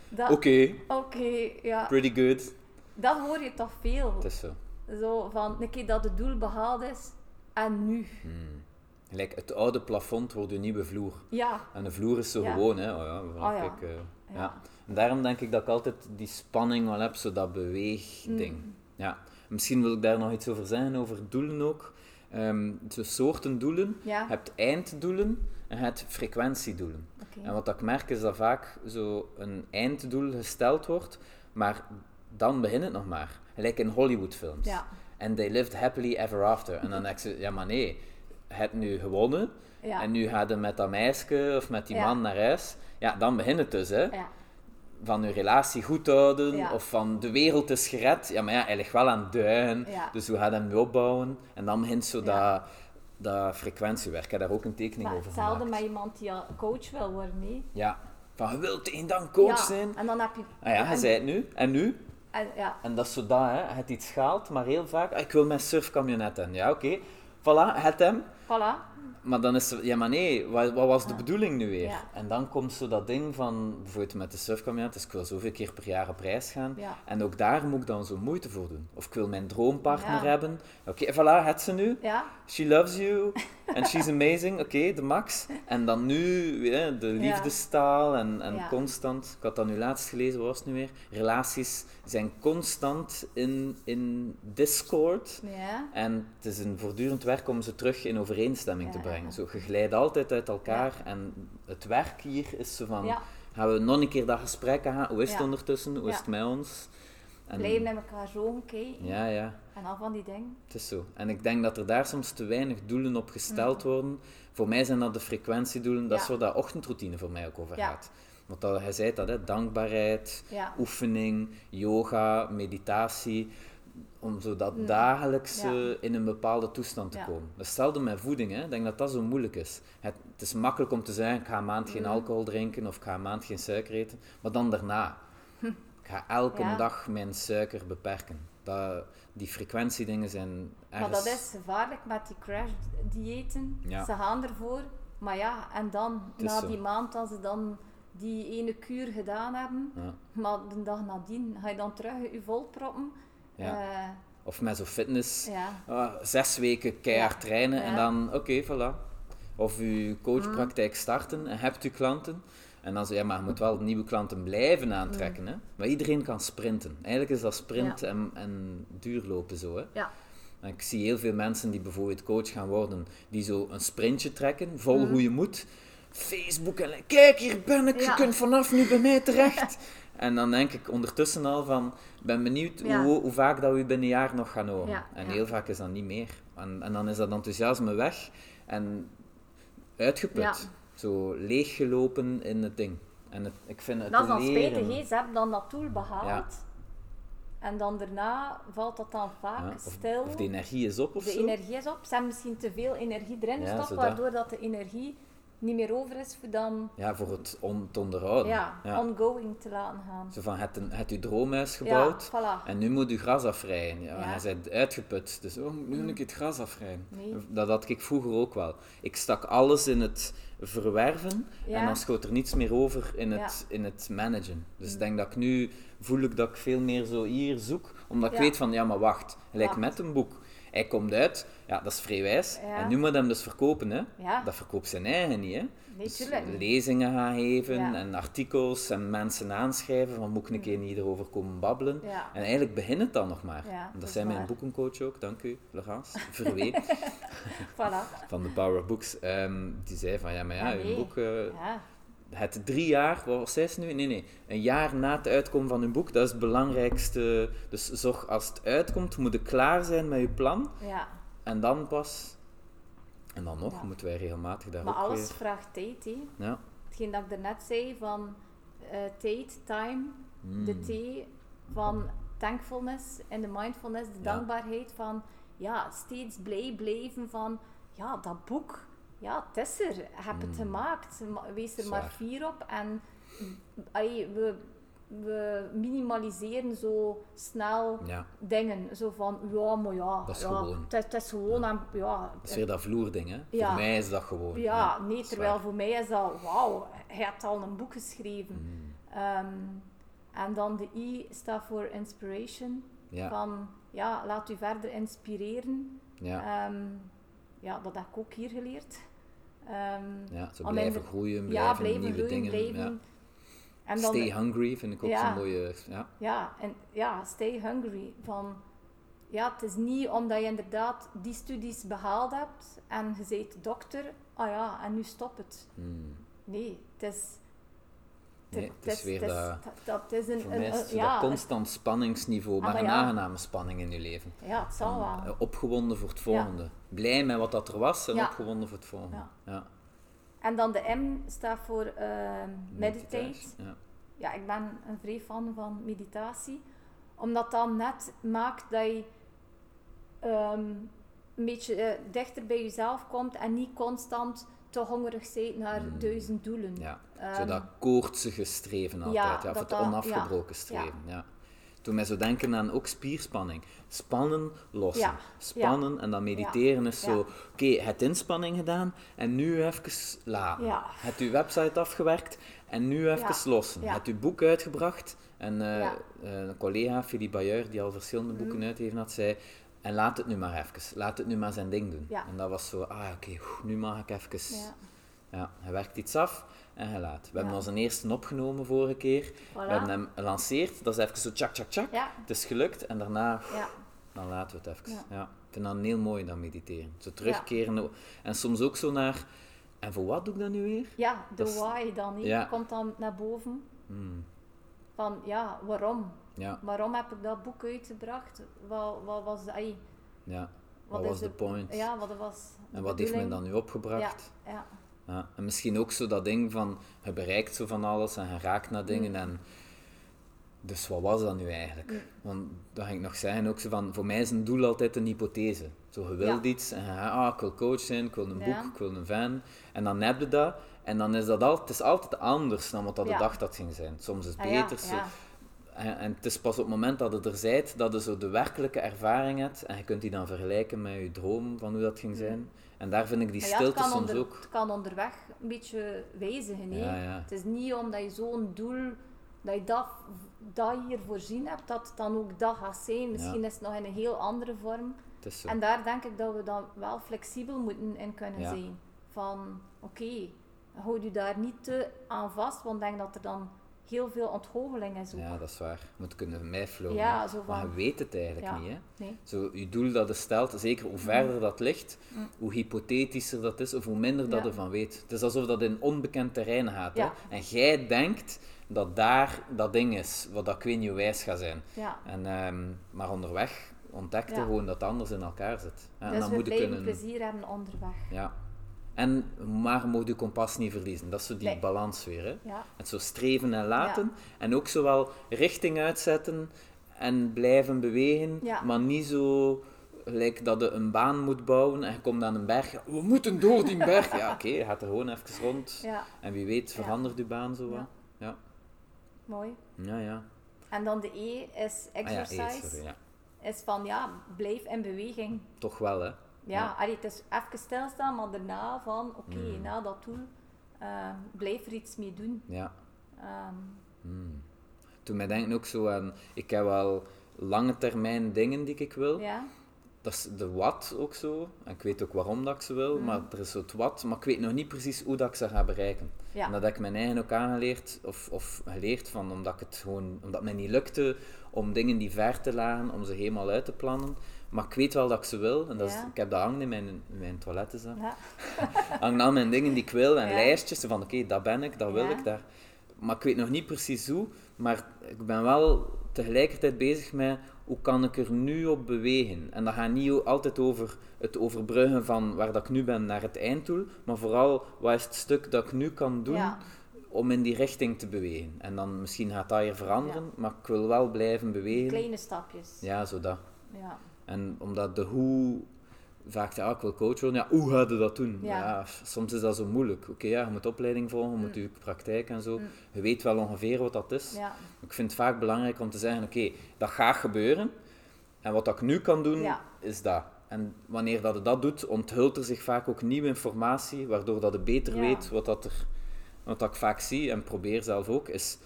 Speaker 1: Dat-
Speaker 2: oké,
Speaker 1: Oké, ja,
Speaker 2: pretty good.
Speaker 1: dat hoor je toch veel.
Speaker 2: Het is zo.
Speaker 1: Zo van, een keer dat het doel behaald is, en nu?
Speaker 2: Gelijk, het oude plafond wordt een nieuwe vloer.
Speaker 1: Ja,
Speaker 2: En de vloer is zo
Speaker 1: Ja.
Speaker 2: gewoon, hè. Oh ja,
Speaker 1: Ah ja.
Speaker 2: ik, eh, ja.
Speaker 1: Ja.
Speaker 2: En daarom denk ik dat ik altijd die spanning wel heb, zo dat beweegding.
Speaker 1: Mm.
Speaker 2: Ja. Misschien wil ik daar nog iets over zeggen, over doelen ook. Ehm zo soorten doelen.
Speaker 1: Ja.
Speaker 2: Je hebt einddoelen en je hebt frequentiedoelen.
Speaker 1: oké.
Speaker 2: En wat dat ik merk is dat vaak zo een einddoel gesteld wordt, maar dan begint het nog maar. Gelijk in Hollywoodfilms.
Speaker 1: Ja.
Speaker 2: En they lived happily ever after. En dan denk ze, ja maar nee, je hebt nu gewonnen.
Speaker 1: Ja.
Speaker 2: En nu gaat je met dat meisje of met die
Speaker 1: Ja.
Speaker 2: man naar huis. Ja, dan begint het dus, hè.
Speaker 1: Ja,
Speaker 2: Van je relatie goed houden,
Speaker 1: Ja.
Speaker 2: of van de wereld is gered. Ja, maar ja, hij ligt wel aan duin.
Speaker 1: Ja.
Speaker 2: Dus hoe gaat hij hem nu opbouwen? En dan begint zo
Speaker 1: Ja.
Speaker 2: dat, dat frequentiewerk. Ik heb daar ook een tekening
Speaker 1: maar
Speaker 2: over
Speaker 1: hetzelfde
Speaker 2: gemaakt.
Speaker 1: met iemand die al coach wil worden, nee.
Speaker 2: Ja, van je wilt één dan coach
Speaker 1: ja,
Speaker 2: zijn.
Speaker 1: En dan heb je...
Speaker 2: Ah ja, hij
Speaker 1: en-
Speaker 2: zei het nu. En nu?
Speaker 1: en- ja,
Speaker 2: En dat is zo dat, hè. Je hebt iets gehaald, maar heel vaak... ah, Ik wil mijn surfcamionet hebben. Ja, oké. Voilà, het hem.
Speaker 1: voilà.
Speaker 2: Maar dan is er, ja maar nee, wat, wat was de bedoeling nu weer?
Speaker 1: Ja.
Speaker 2: En dan komt zo dat ding van, bijvoorbeeld met de surfcamionet, dus ik wil zoveel keer per jaar op reis gaan.
Speaker 1: Ja.
Speaker 2: En ook daar moet ik dan zo moeite voor doen. Of ik wil mijn droompartner
Speaker 1: Ja.
Speaker 2: hebben. Oké, voilà, het ze nu.
Speaker 1: Ja,
Speaker 2: She loves you and she's amazing. Oké, de max. En dan nu hè, de
Speaker 1: Ja.
Speaker 2: liefdestaal en, en
Speaker 1: Ja.
Speaker 2: constant. Ik had dat nu laatst gelezen, wat was het nu weer? Relaties zijn constant in, in discord.
Speaker 1: ja.
Speaker 2: En het is een voortdurend werk om ze terug in overeenstemming
Speaker 1: Ja,
Speaker 2: te
Speaker 1: ja,
Speaker 2: brengen.
Speaker 1: ja.
Speaker 2: Zo, je glijdt altijd uit elkaar. En het werk hier is zo van...
Speaker 1: Ja.
Speaker 2: Gaan we nog een keer dat gesprek aan? Hoe is het
Speaker 1: Ja.
Speaker 2: ondertussen? Hoe is
Speaker 1: Ja.
Speaker 2: het met ons? En,
Speaker 1: Blijven met elkaar zo kijken
Speaker 2: Ja, ja.
Speaker 1: en al van die dingen.
Speaker 2: Het is zo. En ik denk dat er daar soms te weinig doelen op gesteld worden. Voor mij zijn dat de frequentiedoelen. Dat is
Speaker 1: Mm. Ja.
Speaker 2: waar dat ochtendroutine voor mij ook over
Speaker 1: Ja.
Speaker 2: gaat. Want dat, hij zei dat, hè, dankbaarheid,
Speaker 1: Ja.
Speaker 2: oefening, yoga, meditatie. Om zo dat dagelijkse
Speaker 1: Ja.
Speaker 2: in een bepaalde toestand te
Speaker 1: Ja.
Speaker 2: komen. Dat is hetzelfde met voeding. Hè. Ik denk dat dat zo moeilijk is. Het, het is makkelijk om te zeggen, ik ga een maand
Speaker 1: Mm.
Speaker 2: geen alcohol drinken of ik ga een maand geen suiker eten. Maar
Speaker 1: *laughs*
Speaker 2: dan daarna. Ik ga elke
Speaker 1: Ja.
Speaker 2: dag mijn suiker beperken. Dat, die frequentiedingen zijn ergens...
Speaker 1: Maar dat is gevaarlijk met die crash-diëten.
Speaker 2: Ja.
Speaker 1: Ze gaan ervoor, maar ja, en dan,
Speaker 2: is
Speaker 1: na
Speaker 2: zo.
Speaker 1: die maand, als ze dan die ene kuur gedaan hebben,
Speaker 2: Ja.
Speaker 1: maar de dag nadien ga je dan terug je volproppen.
Speaker 2: Ja.
Speaker 1: Eh,
Speaker 2: Of met zo'n fitness.
Speaker 1: ja.
Speaker 2: Ah, zes weken keihard
Speaker 1: Ja.
Speaker 2: trainen en
Speaker 1: Ja.
Speaker 2: dan, oké, voilà. of uw
Speaker 3: Mm.
Speaker 2: coachpraktijk starten en hebt u klanten. En dan zo, ja, maar je moet wel nieuwe klanten
Speaker 3: Mm.
Speaker 2: blijven aantrekken. Hè? Maar iedereen kan sprinten. Eigenlijk is dat sprint en, en duurlopen zo. Hè?
Speaker 3: Ja.
Speaker 2: En ik zie heel veel mensen die bijvoorbeeld coach gaan worden, die zo een sprintje trekken, vol
Speaker 3: Mm.
Speaker 2: hoe je moet. Facebook en like, kijk, hier ben ik,
Speaker 3: Ja.
Speaker 2: je kunt vanaf nu bij
Speaker 3: *laughs*
Speaker 2: mij terecht. en dan denk ik ondertussen al van, ik ben benieuwd
Speaker 3: Ja.
Speaker 2: hoe, hoe vaak dat we u binnen een jaar nog gaan horen.
Speaker 3: Ja,
Speaker 2: en
Speaker 3: ja.
Speaker 2: heel vaak is dat niet meer. En, en dan is dat enthousiasme weg en uitgeput.
Speaker 3: Ja.
Speaker 2: Zo leeggelopen in het ding. En het, ik vind het
Speaker 3: Dat is dan
Speaker 2: leren-
Speaker 3: spijtig, hè. ze hebben dan dat doel behaald.
Speaker 2: Ja.
Speaker 1: En dan daarna valt dat dan vaak
Speaker 2: Ja, of,
Speaker 1: stil.
Speaker 2: of de energie is op of
Speaker 1: de
Speaker 2: zo.
Speaker 1: energie is op. Ze hebben misschien te veel energie erin
Speaker 2: Ja,
Speaker 1: gestopt,
Speaker 2: zodat-
Speaker 1: waardoor dat de energie niet meer over is voor dan
Speaker 2: Ja, voor het on, te onderhouden.
Speaker 1: ja,
Speaker 2: Ja.
Speaker 1: ongoing te laten gaan.
Speaker 2: Zo van, het, het uw droomhuis
Speaker 1: Ja,
Speaker 2: gebouwd
Speaker 1: voilà.
Speaker 2: en nu moet u gras afrijden. Ja,
Speaker 1: Ja.
Speaker 2: Hij bent uitgeput, dus oh, moet ik nu een keer het gras afrijden.
Speaker 1: Nee.
Speaker 2: Dat had ik vroeger ook wel. Ik stak alles in het verwerven en
Speaker 1: Ja.
Speaker 2: dan schoot er niets meer over in het, in het managen. Dus
Speaker 1: Mm.
Speaker 2: ik denk dat ik nu voel ik dat ik veel meer zo hier zoek, omdat ik
Speaker 1: Ja.
Speaker 2: weet van, ja, maar wacht, gelijk
Speaker 1: Wacht.
Speaker 2: met een boek. Hij komt uit, ja, dat is vrijwijs.
Speaker 1: Ja.
Speaker 2: En nu moet hij hem dus verkopen, hè.
Speaker 1: Ja,
Speaker 2: Dat verkoopt zijn eigen niet, hè.
Speaker 1: nee,
Speaker 2: Dus
Speaker 1: tuurlijk. niet.
Speaker 2: lezingen gaan geven
Speaker 1: Ja. Mm.
Speaker 2: en artikels en mensen aanschrijven van moet ik een keer niet erover komen babbelen.
Speaker 1: Ja.
Speaker 2: En eigenlijk begint het dan nog maar.
Speaker 1: Ja,
Speaker 2: dat,
Speaker 1: dat is
Speaker 2: zei mijn
Speaker 1: waar.
Speaker 2: boekencoach ook, dank u, Laurence Verwee
Speaker 1: Voilà.
Speaker 2: *laughs* van de Power of Books. Ehm, die zei van ja, maar ja,
Speaker 1: Ja,
Speaker 2: uw
Speaker 1: Ah, nee.
Speaker 2: boek, eh,
Speaker 1: Ja.
Speaker 2: het drie jaar, wat was zij nu? Nee, nee, een jaar na het uitkomen van uw boek, dat is het belangrijkste. Dus zorg als het uitkomt, moet je klaar zijn met je plan
Speaker 1: ja.
Speaker 2: en dan pas. En dan nog
Speaker 1: Ja.
Speaker 2: moeten wij regelmatig daar
Speaker 1: Maar
Speaker 2: ook
Speaker 1: alles vraagt tijd, hè.
Speaker 2: weer- Ja.
Speaker 1: Hetgeen dat ik daarnet zei, van eh, tijd, time, de
Speaker 2: Mm.
Speaker 1: T van thankfulness en de mindfulness, de
Speaker 2: Ja.
Speaker 1: dankbaarheid van ja, steeds blij blijven van ja, dat boek, ja, het is er, heb het gemaakt, ma- wees er maar
Speaker 2: Hmm. Zwaar.
Speaker 1: fier op en ai, we, we minimaliseren zo snel
Speaker 2: ja.
Speaker 1: dingen, zo van ja, maar ja,
Speaker 2: Hmm. Dat is
Speaker 1: ja,
Speaker 2: gewoon.
Speaker 1: Het, is- het is gewoon aan, ja,
Speaker 2: Dat is weer dat vloerding, hè?
Speaker 1: Ja.
Speaker 2: Voor mij is dat gewoon.
Speaker 1: ja, nee,
Speaker 2: dat is
Speaker 1: terwijl
Speaker 2: waar.
Speaker 1: voor mij is dat, wauw, hij had al een boek geschreven.
Speaker 2: Mm,
Speaker 1: Ehm, en dan de I staat voor inspiration.
Speaker 2: Ja,
Speaker 1: Van ja, laat u verder inspireren.
Speaker 2: ja,
Speaker 1: Ehm, ja, dat heb ik ook hier geleerd. Ehm,
Speaker 2: ja. Zo
Speaker 1: om in
Speaker 2: blijven
Speaker 1: de-
Speaker 2: groeien, blijven,
Speaker 1: ja, blijven
Speaker 2: nieuwe
Speaker 1: groeien,
Speaker 2: dingen.
Speaker 1: blijven.
Speaker 2: ja.
Speaker 1: En dan,
Speaker 2: Stay hungry vind ik ook
Speaker 1: Ja.
Speaker 2: zo'n mooie. Ja,
Speaker 1: ja, en, ja, stay hungry. Van, ja, het is niet omdat je inderdaad die studies behaald hebt en je bent dokter, ah ja, en nu stop het.
Speaker 2: mm.
Speaker 1: Nee, het is...
Speaker 2: Nee, het is weer
Speaker 1: het is-
Speaker 2: dat.
Speaker 1: dat, dat is een...
Speaker 2: Voor
Speaker 1: een-
Speaker 2: mij is
Speaker 1: een-
Speaker 2: het zo
Speaker 1: ja,
Speaker 2: dat constant spanningsniveau,
Speaker 1: Ah,
Speaker 2: maar
Speaker 1: maar
Speaker 2: een
Speaker 1: ja.
Speaker 2: aangename spanning in je leven.
Speaker 1: het- ja, het zal wel.
Speaker 2: Eh, Opgewonden voor het volgende. Blij met wat dat er was en
Speaker 1: Ja.
Speaker 2: opgewonden voor het volgende.
Speaker 1: Ja.
Speaker 2: Ja.
Speaker 1: En dan de M staat voor eh, meditate.
Speaker 2: Ja.
Speaker 1: Ja, ik ben een vrij fan van meditatie. Omdat dat net maakt dat je ehm, een beetje eh, dichter bij jezelf komt en niet constant te hongerig bent naar
Speaker 2: Mm.
Speaker 1: duizend doelen.
Speaker 2: Ja.
Speaker 1: Ehm,
Speaker 2: Zo dat koortsige streven altijd, ja,
Speaker 1: dat
Speaker 2: of het
Speaker 1: dat-
Speaker 2: onafgebroken
Speaker 1: ja,
Speaker 2: streven. Ja. Toen mij zo denken aan ook spierspanning. Spannen, lossen.
Speaker 1: Ja,
Speaker 2: Spannen en dan mediteren is
Speaker 1: ja.
Speaker 2: zo... Oké, het inspanning gedaan en nu even laten.
Speaker 1: Ja.
Speaker 2: Het uw website afgewerkt en nu even
Speaker 1: Ja,
Speaker 2: lossen.
Speaker 1: ja.
Speaker 2: Het uw boek uitgebracht en eh,
Speaker 1: Ja. Mm.
Speaker 2: eh, een collega, Philippe Bayeur, die al verschillende boeken uit heeft, had, zei... En laat het nu maar even. Laat het nu maar zijn ding doen.
Speaker 1: Ja.
Speaker 2: En dat was zo, ah oké, oeh, nu mag ik even...
Speaker 1: ja,
Speaker 2: Ja, hij werkt iets af en hij laat. We hebben
Speaker 1: Ja.
Speaker 2: onze eerste opgenomen vorige keer. We hebben
Speaker 1: voilà.
Speaker 2: hem gelanceerd. Dat is even zo tjak, tjak, tjak.
Speaker 1: Ja,
Speaker 2: Het is gelukt en daarna
Speaker 1: ja,
Speaker 2: dan laten we het even.
Speaker 1: Ja.
Speaker 2: Ja. Ik vind dat heel mooi, dat mediteren. Zo terugkeren en soms ook zo naar... En voor wat doe ik dat nu weer?
Speaker 1: ja, de
Speaker 2: Dat is-
Speaker 1: why dan. hè.
Speaker 2: Ja.
Speaker 1: Komt dan naar boven
Speaker 2: Hmm,
Speaker 1: van ja, waarom?
Speaker 2: Ja,
Speaker 1: Waarom heb ik dat boek uitgebracht? Wat, wat was dat? ai,
Speaker 2: ja.
Speaker 1: Wat
Speaker 2: Wat,
Speaker 1: is
Speaker 2: was de
Speaker 1: de-
Speaker 2: point?
Speaker 1: Ja, wat was de
Speaker 2: en wat heeft men
Speaker 1: bedoeling?
Speaker 2: dan nu opgebracht?
Speaker 1: Ja,
Speaker 2: Ja, en misschien ook zo dat ding van, je bereikt zo van alles en je raakt naar dingen
Speaker 1: Mm.
Speaker 2: en... Dus wat was dat nu eigenlijk? Want dat ging ik nog zeggen, ook zo van, voor mij is een doel altijd een hypothese. Zo, je wilt
Speaker 1: Ja.
Speaker 2: iets en je gaat, ah, ik wil coach zijn, ik wil een
Speaker 1: Ja.
Speaker 2: boek, ik wil een fan. En dan heb je dat en dan is dat al, het is altijd anders dan wat dat
Speaker 1: Ja.
Speaker 2: je dacht dat het ging zijn. Soms is het
Speaker 1: Ah,
Speaker 2: beter, zo- En, en het is pas op het moment dat je er zijt, dat je zo de werkelijke ervaring hebt en je kunt die dan vergelijken met je droom van hoe dat ging zijn. En daar vind ik die
Speaker 1: Mm. Maar ja, het,
Speaker 2: stilte
Speaker 1: kan
Speaker 2: soms
Speaker 1: onder-
Speaker 2: ook...
Speaker 1: het kan onderweg een beetje wijzigen. hè.
Speaker 2: Ja, ja.
Speaker 1: Het is niet omdat je zo'n doel, dat je dat, dat hier voorzien hebt, dat het dan ook dat gaat zijn. Misschien is het nog in een heel andere vorm.
Speaker 2: Het is zo.
Speaker 1: En daar denk ik dat we dan wel flexibel moeten in kunnen
Speaker 2: Ja.
Speaker 1: zijn. van oké, houd u daar niet te aan vast, want ik denk dat er dan heel veel ontgoocheling is ook.
Speaker 2: Ja, dat is waar. Je moet kunnen meeflowen.
Speaker 1: Ja,
Speaker 2: hè.
Speaker 1: zo van-
Speaker 2: Maar je weet het eigenlijk
Speaker 1: Ja.
Speaker 2: niet. Hè?
Speaker 1: Nee.
Speaker 2: Zo, je doel dat je stelt, zeker hoe verder dat ligt,
Speaker 1: Mm.
Speaker 2: hoe hypothetischer dat is, of hoe minder dat
Speaker 1: Ja.
Speaker 2: je van weet. Het is alsof dat in onbekend terrein gaat.
Speaker 1: Ja.
Speaker 2: Hè? En jij denkt dat daar dat ding is, wat dat ik weet niet wijs gaat zijn.
Speaker 1: Ja.
Speaker 2: En, ehm, maar onderweg ontdekte
Speaker 1: Ja.
Speaker 2: gewoon dat het anders in elkaar zit. Hè, En
Speaker 1: dus
Speaker 2: dan
Speaker 1: we
Speaker 2: moet je
Speaker 1: blijven
Speaker 2: kunnen...
Speaker 1: plezier hebben onderweg.
Speaker 2: Ja. En, maar moet je kompas niet verliezen. Dat is zo die
Speaker 1: Nee.
Speaker 2: balans weer. Hè?
Speaker 1: Ja,
Speaker 2: Het zo streven en laten. En ook zowel richting uitzetten en blijven bewegen.
Speaker 1: Ja.
Speaker 2: Maar niet zo gelijk dat je een baan moet bouwen en je komt aan een berg. Ja, we moeten door die berg. Ja, oké, je gaat er gewoon even rond.
Speaker 1: ja,
Speaker 2: En wie weet verandert je baan zo wat.
Speaker 1: Ja.
Speaker 2: Ja,
Speaker 1: mooi.
Speaker 2: ja. ja.
Speaker 1: En dan de E is
Speaker 2: Ah ja,
Speaker 1: exercise.
Speaker 2: eh, sorry, ja.
Speaker 1: Is van ja, blijf in beweging.
Speaker 2: Toch wel, hè.
Speaker 1: Ja,
Speaker 2: Ja.
Speaker 1: allee, het is even stilstaan, maar daarna van oké,
Speaker 2: Mm.
Speaker 1: na dat doel, eh, blijf er iets mee doen.
Speaker 2: Ja.
Speaker 1: Ehm,
Speaker 2: Hmm. Toen mij denken ook zo aan, ik heb wel lange termijn dingen die ik wil.
Speaker 1: ja,
Speaker 2: Dat is de wat ook zo. En ik weet ook waarom dat ik ze wil,
Speaker 1: Mhm.
Speaker 2: maar er is zo het wat, maar ik weet nog niet precies hoe dat ik ze ga bereiken.
Speaker 1: Ja.
Speaker 2: En dat heb ik mijn eigen ook aangeleerd, of, of geleerd van, omdat ik het gewoon, omdat het mij niet lukte om dingen die ver te lagen, om ze helemaal uit te plannen. Maar ik weet wel dat ik ze wil, en dat is,
Speaker 1: Ja.
Speaker 2: ik heb dat hangen in mijn, in mijn toilet, *laughs* is dat
Speaker 1: ja,
Speaker 2: hang al mijn dingen die ik wil en
Speaker 1: Ja.
Speaker 2: lijstjes van oké, dat ben ik, dat wil
Speaker 1: Ja.
Speaker 2: ik daar. Maar ik weet nog niet precies hoe, maar ik ben wel tegelijkertijd bezig met hoe kan ik er nu op bewegen. En dat gaat niet o- altijd over het overbruggen van waar dat ik nu ben naar het einddoel, maar vooral wat is het stuk dat ik nu kan doen
Speaker 1: ja,
Speaker 2: om in die richting te bewegen. En dan misschien gaat dat hier veranderen, maar ik wil wel blijven bewegen.
Speaker 1: kleine stapjes.
Speaker 2: Ja, zo dat.
Speaker 1: Ja.
Speaker 2: En omdat de hoe vaak ja, ik wil coach worden, ja, hoe ga je dat doen? Ja.
Speaker 1: Ja.
Speaker 2: f- soms is dat zo moeilijk. Oké, ja, je moet opleiding volgen, je moet je praktijk en zo.
Speaker 1: Mm.
Speaker 2: Je weet wel ongeveer wat dat is.
Speaker 1: Ja,
Speaker 2: Ik vind het vaak belangrijk om te zeggen, oké, dat gaat gebeuren. En wat dat ik nu kan doen,
Speaker 1: Ja.
Speaker 2: is dat. En wanneer dat je dat doet, onthult er zich vaak ook nieuwe informatie, waardoor dat je beter
Speaker 1: Ja.
Speaker 2: weet wat dat er... Wat dat ik vaak zie, en probeer zelf ook, is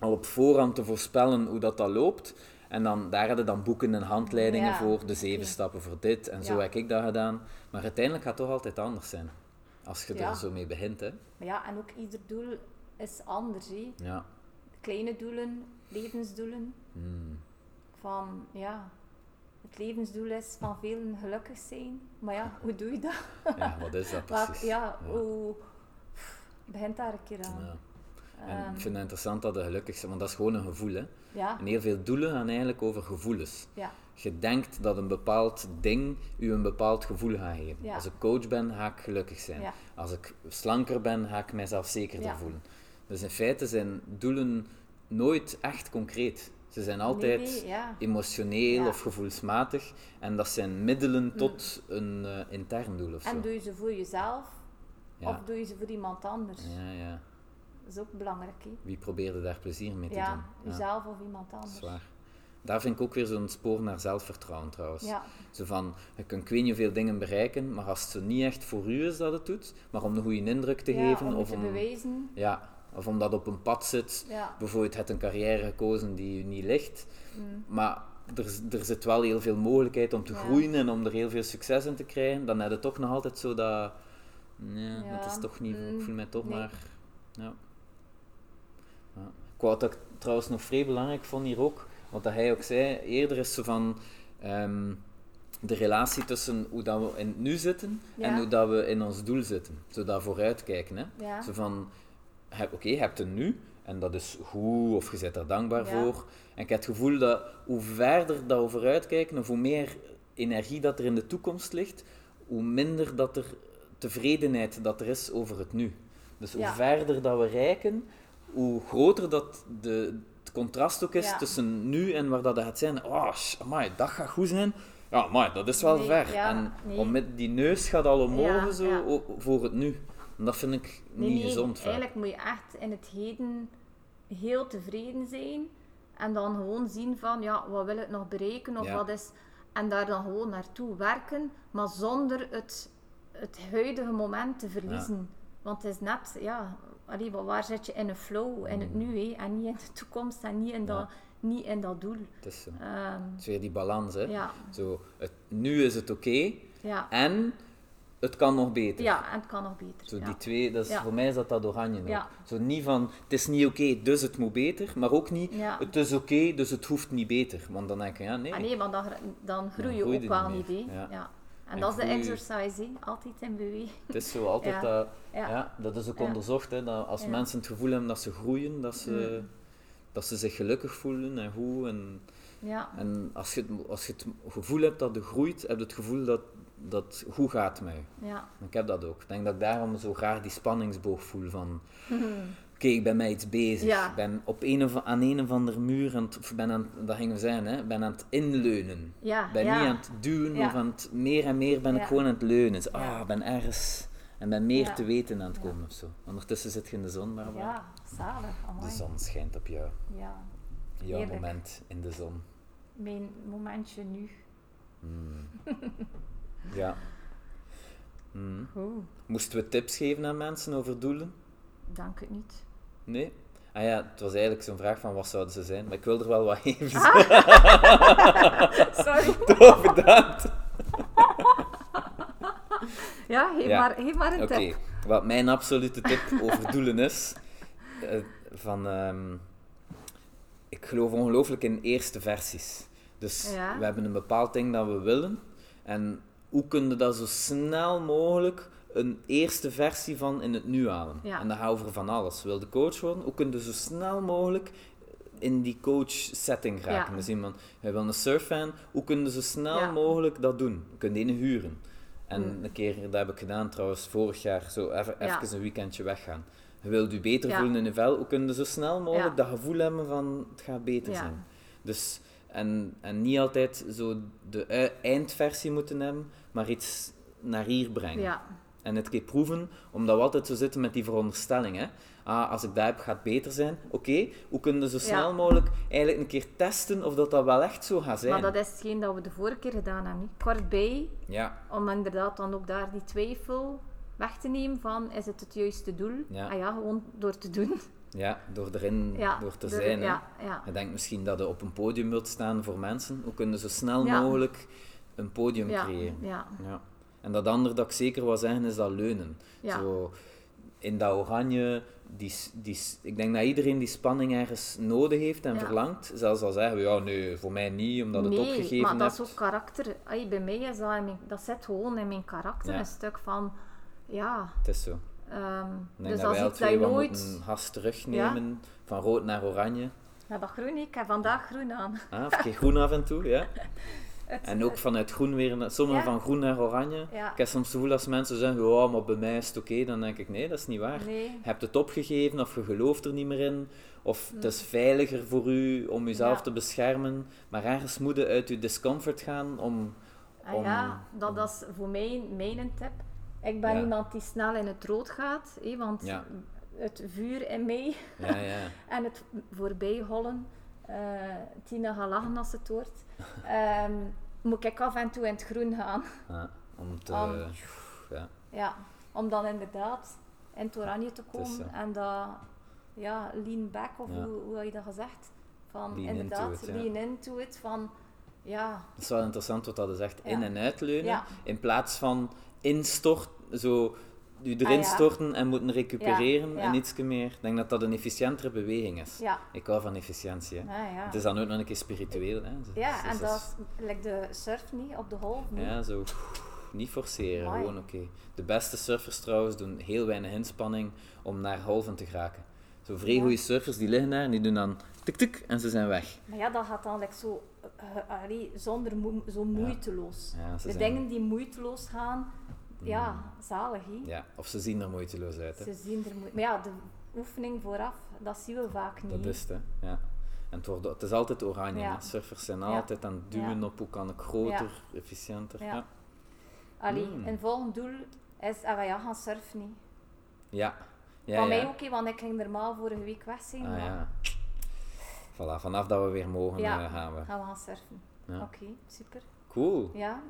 Speaker 2: al op voorhand te voorspellen hoe dat, dat loopt. En dan, daar hadden dan boeken en handleidingen
Speaker 1: Ja,
Speaker 2: voor, de zeven
Speaker 1: oké.
Speaker 2: stappen voor dit, en zo
Speaker 1: Ja.
Speaker 2: heb ik dat gedaan. Maar uiteindelijk gaat het toch altijd anders zijn, als je
Speaker 1: Ja.
Speaker 2: er zo mee begint. Hè?
Speaker 1: maar ja, en ook ieder doel is anders. Hè.
Speaker 2: Ja.
Speaker 1: *laughs* Kleine doelen, levensdoelen.
Speaker 2: Hmm.
Speaker 1: Van ja, het levensdoel is van velen gelukkig zijn. Maar ja, hoe doe je dat?
Speaker 2: ja, wat is dat
Speaker 1: Waar-
Speaker 2: precies?
Speaker 1: ja,
Speaker 2: Ja.
Speaker 1: hoe begint daar een keer aan?
Speaker 2: Ja. En
Speaker 1: Ehm,
Speaker 2: ik vind het interessant dat je gelukkig zijn, want dat is gewoon een gevoel. Hè?
Speaker 1: ja,
Speaker 2: En heel veel doelen gaan eigenlijk over gevoelens.
Speaker 1: ja,
Speaker 2: Je denkt dat een bepaald ding u een bepaald gevoel gaat geven.
Speaker 1: Ja.
Speaker 2: Als ik coach ben, ga ik gelukkig zijn.
Speaker 1: Ja.
Speaker 2: Als ik slanker ben, ga ik mijzelf zekerder
Speaker 1: Ja.
Speaker 2: voelen. Dus in feite zijn doelen nooit echt concreet. Ze zijn altijd
Speaker 1: Nee, nee, ja.
Speaker 2: emotioneel
Speaker 1: Ja. Mm.
Speaker 2: of gevoelsmatig. En dat zijn middelen tot een eh, intern doel of zo.
Speaker 1: En doe je ze voor jezelf
Speaker 2: ja.
Speaker 1: of doe je ze voor iemand anders?
Speaker 2: ja, ja.
Speaker 1: Dat is ook belangrijk. Hè?
Speaker 2: Wie probeerde daar plezier mee te doen?
Speaker 1: Ja, dus jezelf of iemand anders.
Speaker 2: Zwaar. Daar vind ik ook weer zo'n spoor naar zelfvertrouwen trouwens.
Speaker 1: Ja,
Speaker 2: Zo van, je kunt ik weet niet hoeveel dingen bereiken, maar als het niet echt voor u is dat het doet, maar om een goede indruk te
Speaker 1: ja
Speaker 2: geven
Speaker 1: om je
Speaker 2: of
Speaker 1: te bewijzen.
Speaker 2: ja, of omdat op een pad zit,
Speaker 1: Ja,
Speaker 2: bijvoorbeeld het een carrière gekozen die u niet ligt,
Speaker 1: mm,
Speaker 2: maar er, z- er zit wel heel veel mogelijkheid om te
Speaker 1: Ja.
Speaker 2: groeien en om er heel veel succes in te krijgen, dan heb je toch nog altijd zo dat, nee,
Speaker 1: Ja,
Speaker 2: het is toch niet, ik
Speaker 1: mm,
Speaker 2: voel mij toch
Speaker 1: nee.
Speaker 2: maar, ja. ja. Ik wou dat ik trouwens nog vrij belangrijk vond hier ook, wat dat hij ook zei, eerder is zo van ehm, de relatie tussen hoe dat we in het nu zitten en
Speaker 1: Ja.
Speaker 2: hoe dat we in ons doel zitten, zodat vooruitkijken, hè.
Speaker 1: ja,
Speaker 2: Zo van, he- oké, je hebt het nu en dat is goed of je bent er dankbaar
Speaker 1: Ja.
Speaker 2: voor. En ik heb het gevoel dat hoe verder dat we vooruitkijken of hoe meer energie dat er in de toekomst ligt, hoe minder dat er tevredenheid dat er is over het nu. Dus hoe
Speaker 1: Ja.
Speaker 2: verder dat we reiken, hoe groter dat de, het contrast ook is
Speaker 1: Ja.
Speaker 2: tussen nu en waar dat gaat zijn. Oh, sh- amai, dat gaat goed zijn. Ja, maar dat is wel
Speaker 1: Nee,
Speaker 2: ver.
Speaker 1: ja,
Speaker 2: en
Speaker 1: nee.
Speaker 2: om met die neus gaat al omhoog
Speaker 1: Ja,
Speaker 2: zo
Speaker 1: ja.
Speaker 2: o- voor het nu. En dat vind ik
Speaker 1: Nee,
Speaker 2: niet
Speaker 1: nee,
Speaker 2: gezond. vaak.
Speaker 1: Eigenlijk moet je echt in het heden heel tevreden zijn en dan gewoon zien van ja, wat wil ik nog bereiken of
Speaker 2: Ja.
Speaker 1: wat is. En daar dan gewoon naartoe werken, maar zonder het, het huidige moment te verliezen. Want het is net, ja, allee, wa- waar zit je in een flow, in
Speaker 2: Mm.
Speaker 1: het nu hé, en niet in de toekomst en niet in dat, niet in dat doel.
Speaker 2: Het is, zo.
Speaker 1: Ehm,
Speaker 2: Eh. het is weer die balans. Hè.
Speaker 1: ja,
Speaker 2: Zo, het, nu is het oké
Speaker 1: ja,
Speaker 2: en het kan nog beter.
Speaker 1: Ja, en het kan nog beter.
Speaker 2: Eh. Zo
Speaker 1: ja.
Speaker 2: die twee, dat is,
Speaker 1: Ja.
Speaker 2: voor mij is dat dat oranje. dan.
Speaker 1: Ja.
Speaker 2: Zo niet van, het is niet oké, dus het moet beter, maar ook niet,
Speaker 1: Ja.
Speaker 2: het is oké, dus het hoeft niet beter. Want dan denk je, ja, nee.
Speaker 1: Ah, nee, want dan, gr- dan groei je
Speaker 2: groei je
Speaker 1: ook
Speaker 2: niet
Speaker 1: wel
Speaker 2: meer,
Speaker 1: niet. hè.
Speaker 2: ja.
Speaker 1: Ja. En,
Speaker 2: En
Speaker 1: dat is de
Speaker 2: groei-
Speaker 1: exercise, hè. altijd in beweging.
Speaker 2: Het is zo altijd
Speaker 1: Ja.
Speaker 2: dat... Ja.
Speaker 1: Ja.
Speaker 2: dat is ook
Speaker 1: Ja.
Speaker 2: onderzocht, hè, dat als
Speaker 1: Ja. Mm.
Speaker 2: mensen het gevoel hebben dat ze groeien, dat ze, dat ze zich gelukkig voelen en goed. En,
Speaker 1: Ja.
Speaker 2: en als, je het, als je het gevoel hebt dat er groeit, heb je het gevoel dat, dat het goed gaat met je.
Speaker 1: Ja.
Speaker 2: Ik heb dat ook. Ik denk dat ik daarom zo graag die spanningsboog voel van... Oké, ik ben met iets bezig.
Speaker 1: Mhm. Ja.
Speaker 2: Ik ben op een of, aan een of andere muur, aan het, of ben aan het- dat gingen we zijn, hè, ben aan het inleunen.
Speaker 1: Ja.
Speaker 2: Ik ben
Speaker 1: ja.
Speaker 2: niet aan het duwen,
Speaker 1: Ja.
Speaker 2: of aan het, meer en meer ben ik
Speaker 1: Ja.
Speaker 2: gewoon aan het leunen. Dus, ah,
Speaker 1: Ja.
Speaker 2: ik ben ergens en ben meer
Speaker 1: Ja.
Speaker 2: te weten aan het komen of zo. Ondertussen zit je in de zon, maar
Speaker 1: Ja, zalig.
Speaker 2: de
Speaker 1: amai.
Speaker 2: zon schijnt op jou.
Speaker 1: Ja.
Speaker 2: Jouw
Speaker 1: Heerlijk.
Speaker 2: moment in de zon.
Speaker 1: Mijn momentje nu.
Speaker 2: Mm. ja. Mm.
Speaker 1: Oeh.
Speaker 2: Moesten we tips geven aan mensen over doelen?
Speaker 1: Dank het niet.
Speaker 2: *laughs* Nee? Ah ja, het was eigenlijk zo'n vraag van wat zouden ze zijn, maar ik wil er wel wat *laughs* even
Speaker 1: Sorry.
Speaker 2: *laughs* over bedankt.
Speaker 1: *laughs* Ja, geef,
Speaker 2: Ja.
Speaker 1: Maar, geef maar een
Speaker 2: Oké,
Speaker 1: tip.
Speaker 2: wat mijn absolute tip over *laughs* doelen is, eh, van, ehm, ik geloof ongelooflijk in eerste versies. Dus
Speaker 1: Ja.
Speaker 2: we hebben een bepaald ding dat we willen. En hoe kun je dat zo snel mogelijk een eerste versie van in het nu halen?
Speaker 1: Ja.
Speaker 2: En dat gaat over van alles. Wil de coach worden? Hoe kun je zo snel mogelijk in die coach setting raken?
Speaker 1: Ja.
Speaker 2: Dus iemand, hij wil een surffan. Hoe kun je zo snel
Speaker 1: Ja.
Speaker 2: mogelijk dat doen? We kunnen die ene huren. En
Speaker 1: Mm.
Speaker 2: een keer, dat heb ik gedaan trouwens, vorig jaar, zo even,
Speaker 1: Ja.
Speaker 2: even een weekendje weggaan. Je wilt je beter
Speaker 1: Ja.
Speaker 2: voelen in je vel, hoe kun je zo snel mogelijk
Speaker 1: Ja.
Speaker 2: dat gevoel hebben van het gaat beter
Speaker 1: Ja.
Speaker 2: zijn. Dus, en, en niet altijd zo de ui- eindversie moeten hebben, maar iets naar hier brengen.
Speaker 1: Ja.
Speaker 2: En het keer proeven, omdat we altijd zo zitten met die veronderstelling. Hè? Ah, als ik dat heb, gaat het beter zijn. Oké, hoe kunnen we zo snel
Speaker 1: Ja.
Speaker 2: mogelijk eigenlijk een keer testen of dat, dat wel echt zo gaat zijn?
Speaker 1: Maar dat is hetgeen dat we de vorige keer gedaan hebben. niet? Kort bij,
Speaker 2: Ja,
Speaker 1: om inderdaad dan ook daar die twijfel weg te nemen van is het het juiste doel?
Speaker 2: Ja.
Speaker 1: Ah ja, gewoon door te doen.
Speaker 2: ja, door erin
Speaker 1: Ja,
Speaker 2: door te
Speaker 1: door-
Speaker 2: zijn. hè.
Speaker 1: Ja, ja.
Speaker 2: Je denkt misschien dat je op een podium wilt staan voor mensen. Hoe kunnen ze zo snel
Speaker 1: Ja.
Speaker 2: mogelijk een podium
Speaker 1: Ja,
Speaker 2: creëren?
Speaker 1: ja,
Speaker 2: Ja. En dat andere dat ik zeker wil zeggen is dat leunen.
Speaker 1: ja.
Speaker 2: Zo, in dat oranje, die, s- die, s- ik denk dat iedereen die spanning ergens nodig heeft en
Speaker 1: Ja.
Speaker 2: verlangt. Zelfs al zeggen we, ja, nee, voor mij niet, omdat het
Speaker 1: nee,
Speaker 2: opgegeven
Speaker 1: maar dat is
Speaker 2: hebt.
Speaker 1: ook karakter. Ay, bij mij is dat, in mijn- dat zit gewoon in mijn karakter
Speaker 2: Ja.
Speaker 1: een stuk van, ja.
Speaker 2: Het is zo.
Speaker 1: ehm,
Speaker 2: Ik denk
Speaker 1: dus
Speaker 2: dat
Speaker 1: dat
Speaker 2: wij
Speaker 1: is
Speaker 2: al
Speaker 1: iets dat je
Speaker 2: twee wat
Speaker 1: nooit.
Speaker 2: moeten has terugnemen, van rood naar oranje.
Speaker 1: Ja, dat groen, ik heb vandaag groen aan.
Speaker 2: Ah, of een keer groen af en toe, ja.
Speaker 1: *laughs* Het-
Speaker 2: En ook vanuit groen weer, naar- sommigen
Speaker 1: Ja.
Speaker 2: van groen naar oranje.
Speaker 1: Ja.
Speaker 2: Ik heb soms het gevoel als mensen zeggen, ja, maar bij mij is het oké, dan denk ik, nee, dat is niet waar.
Speaker 1: Nee.
Speaker 2: Je hebt het opgegeven of je gelooft er niet meer in. Of het is veiliger voor u om jezelf
Speaker 1: Ja.
Speaker 2: te beschermen. Maar ergens moet je uit je discomfort gaan om...
Speaker 1: Ah
Speaker 2: om-
Speaker 1: ja, dat, dat is voor mij mijn tip. Ik ben
Speaker 2: Ja.
Speaker 1: iemand die snel in het rood gaat, hè, want
Speaker 2: Ja.
Speaker 1: het vuur in mij
Speaker 2: Ja, ja.
Speaker 1: en het voorbij hollen. eh Tina gaat lachen als ze het
Speaker 2: *laughs*
Speaker 1: hoort. Ehm, moet ik af en toe in het groen gaan.
Speaker 2: Ja, om te...
Speaker 1: Om-
Speaker 2: ja.
Speaker 1: Ja, om dan inderdaad in het oranje te
Speaker 2: is zo.
Speaker 1: komen en dat ja, lean back, of
Speaker 2: Ja.
Speaker 1: hoe, hoe had je dat gezegd? Van
Speaker 2: Lean into
Speaker 1: inderdaad,
Speaker 2: it, ja.
Speaker 1: lean into it, van ja,
Speaker 2: Dat is wel interessant wat dat is echt
Speaker 1: Ja.
Speaker 2: in- en uitleunen.
Speaker 1: Ja.
Speaker 2: In plaats van instort, zo je erin
Speaker 1: Ah, ja.
Speaker 2: storten en moeten recupereren
Speaker 1: Ja, ja.
Speaker 2: en iets meer. Ik denk dat dat een efficiëntere beweging is.
Speaker 1: ja,
Speaker 2: Ik hou van efficiëntie. Hè.
Speaker 1: ja, ja.
Speaker 2: Het is dan ook nog een keer spiritueel. Hè. Dus-
Speaker 1: Ja,
Speaker 2: dus
Speaker 1: en dat is like de surf niet, op de golf niet.
Speaker 2: Ja, zo. Niet forceren,
Speaker 1: Mooi.
Speaker 2: gewoon oké. De beste surfers trouwens doen heel weinig inspanning om naar golven te geraken. Zo vrij
Speaker 1: Ja.
Speaker 2: goede surfers die liggen daar en die doen dan tik-tik en ze zijn weg.
Speaker 1: Maar ja, dat gaat dan like zo, eh, eh, allee, zonder moe- zo moeiteloos.
Speaker 2: Ja, ze
Speaker 1: de
Speaker 2: zijn- Mm.
Speaker 1: dingen die moeiteloos gaan, ja, zalig. hè.
Speaker 2: Ja, of ze zien er moeiteloos uit. Hè.
Speaker 1: Ze zien er moe- Maar ja, de oefening vooraf, dat zien we vaak niet.
Speaker 2: Dat
Speaker 1: hè.
Speaker 2: is het, hè. Ja. En het, wordt, het is altijd oranje.
Speaker 1: Mhm. Ja.
Speaker 2: hè. Surfers zijn
Speaker 1: Ja.
Speaker 2: altijd aan het duwen op hoe kan ik groter, efficiënter. Ja.
Speaker 1: Ja.
Speaker 2: Ja.
Speaker 1: Allee,
Speaker 2: Mm.
Speaker 1: een volgend doel is, ah, ja, gaan surfen niet.
Speaker 2: ja. ja,
Speaker 1: Van mij ook, hè, want ik ging normaal vorige week weg zijn.
Speaker 2: Ah,
Speaker 1: maar
Speaker 2: ja. Voilà, vanaf dat we weer mogen
Speaker 1: Ja.
Speaker 2: eh, gaan we.
Speaker 1: gaan we gaan surfen.
Speaker 2: Ja.
Speaker 1: Oké, super.
Speaker 2: Cool.
Speaker 1: Ja,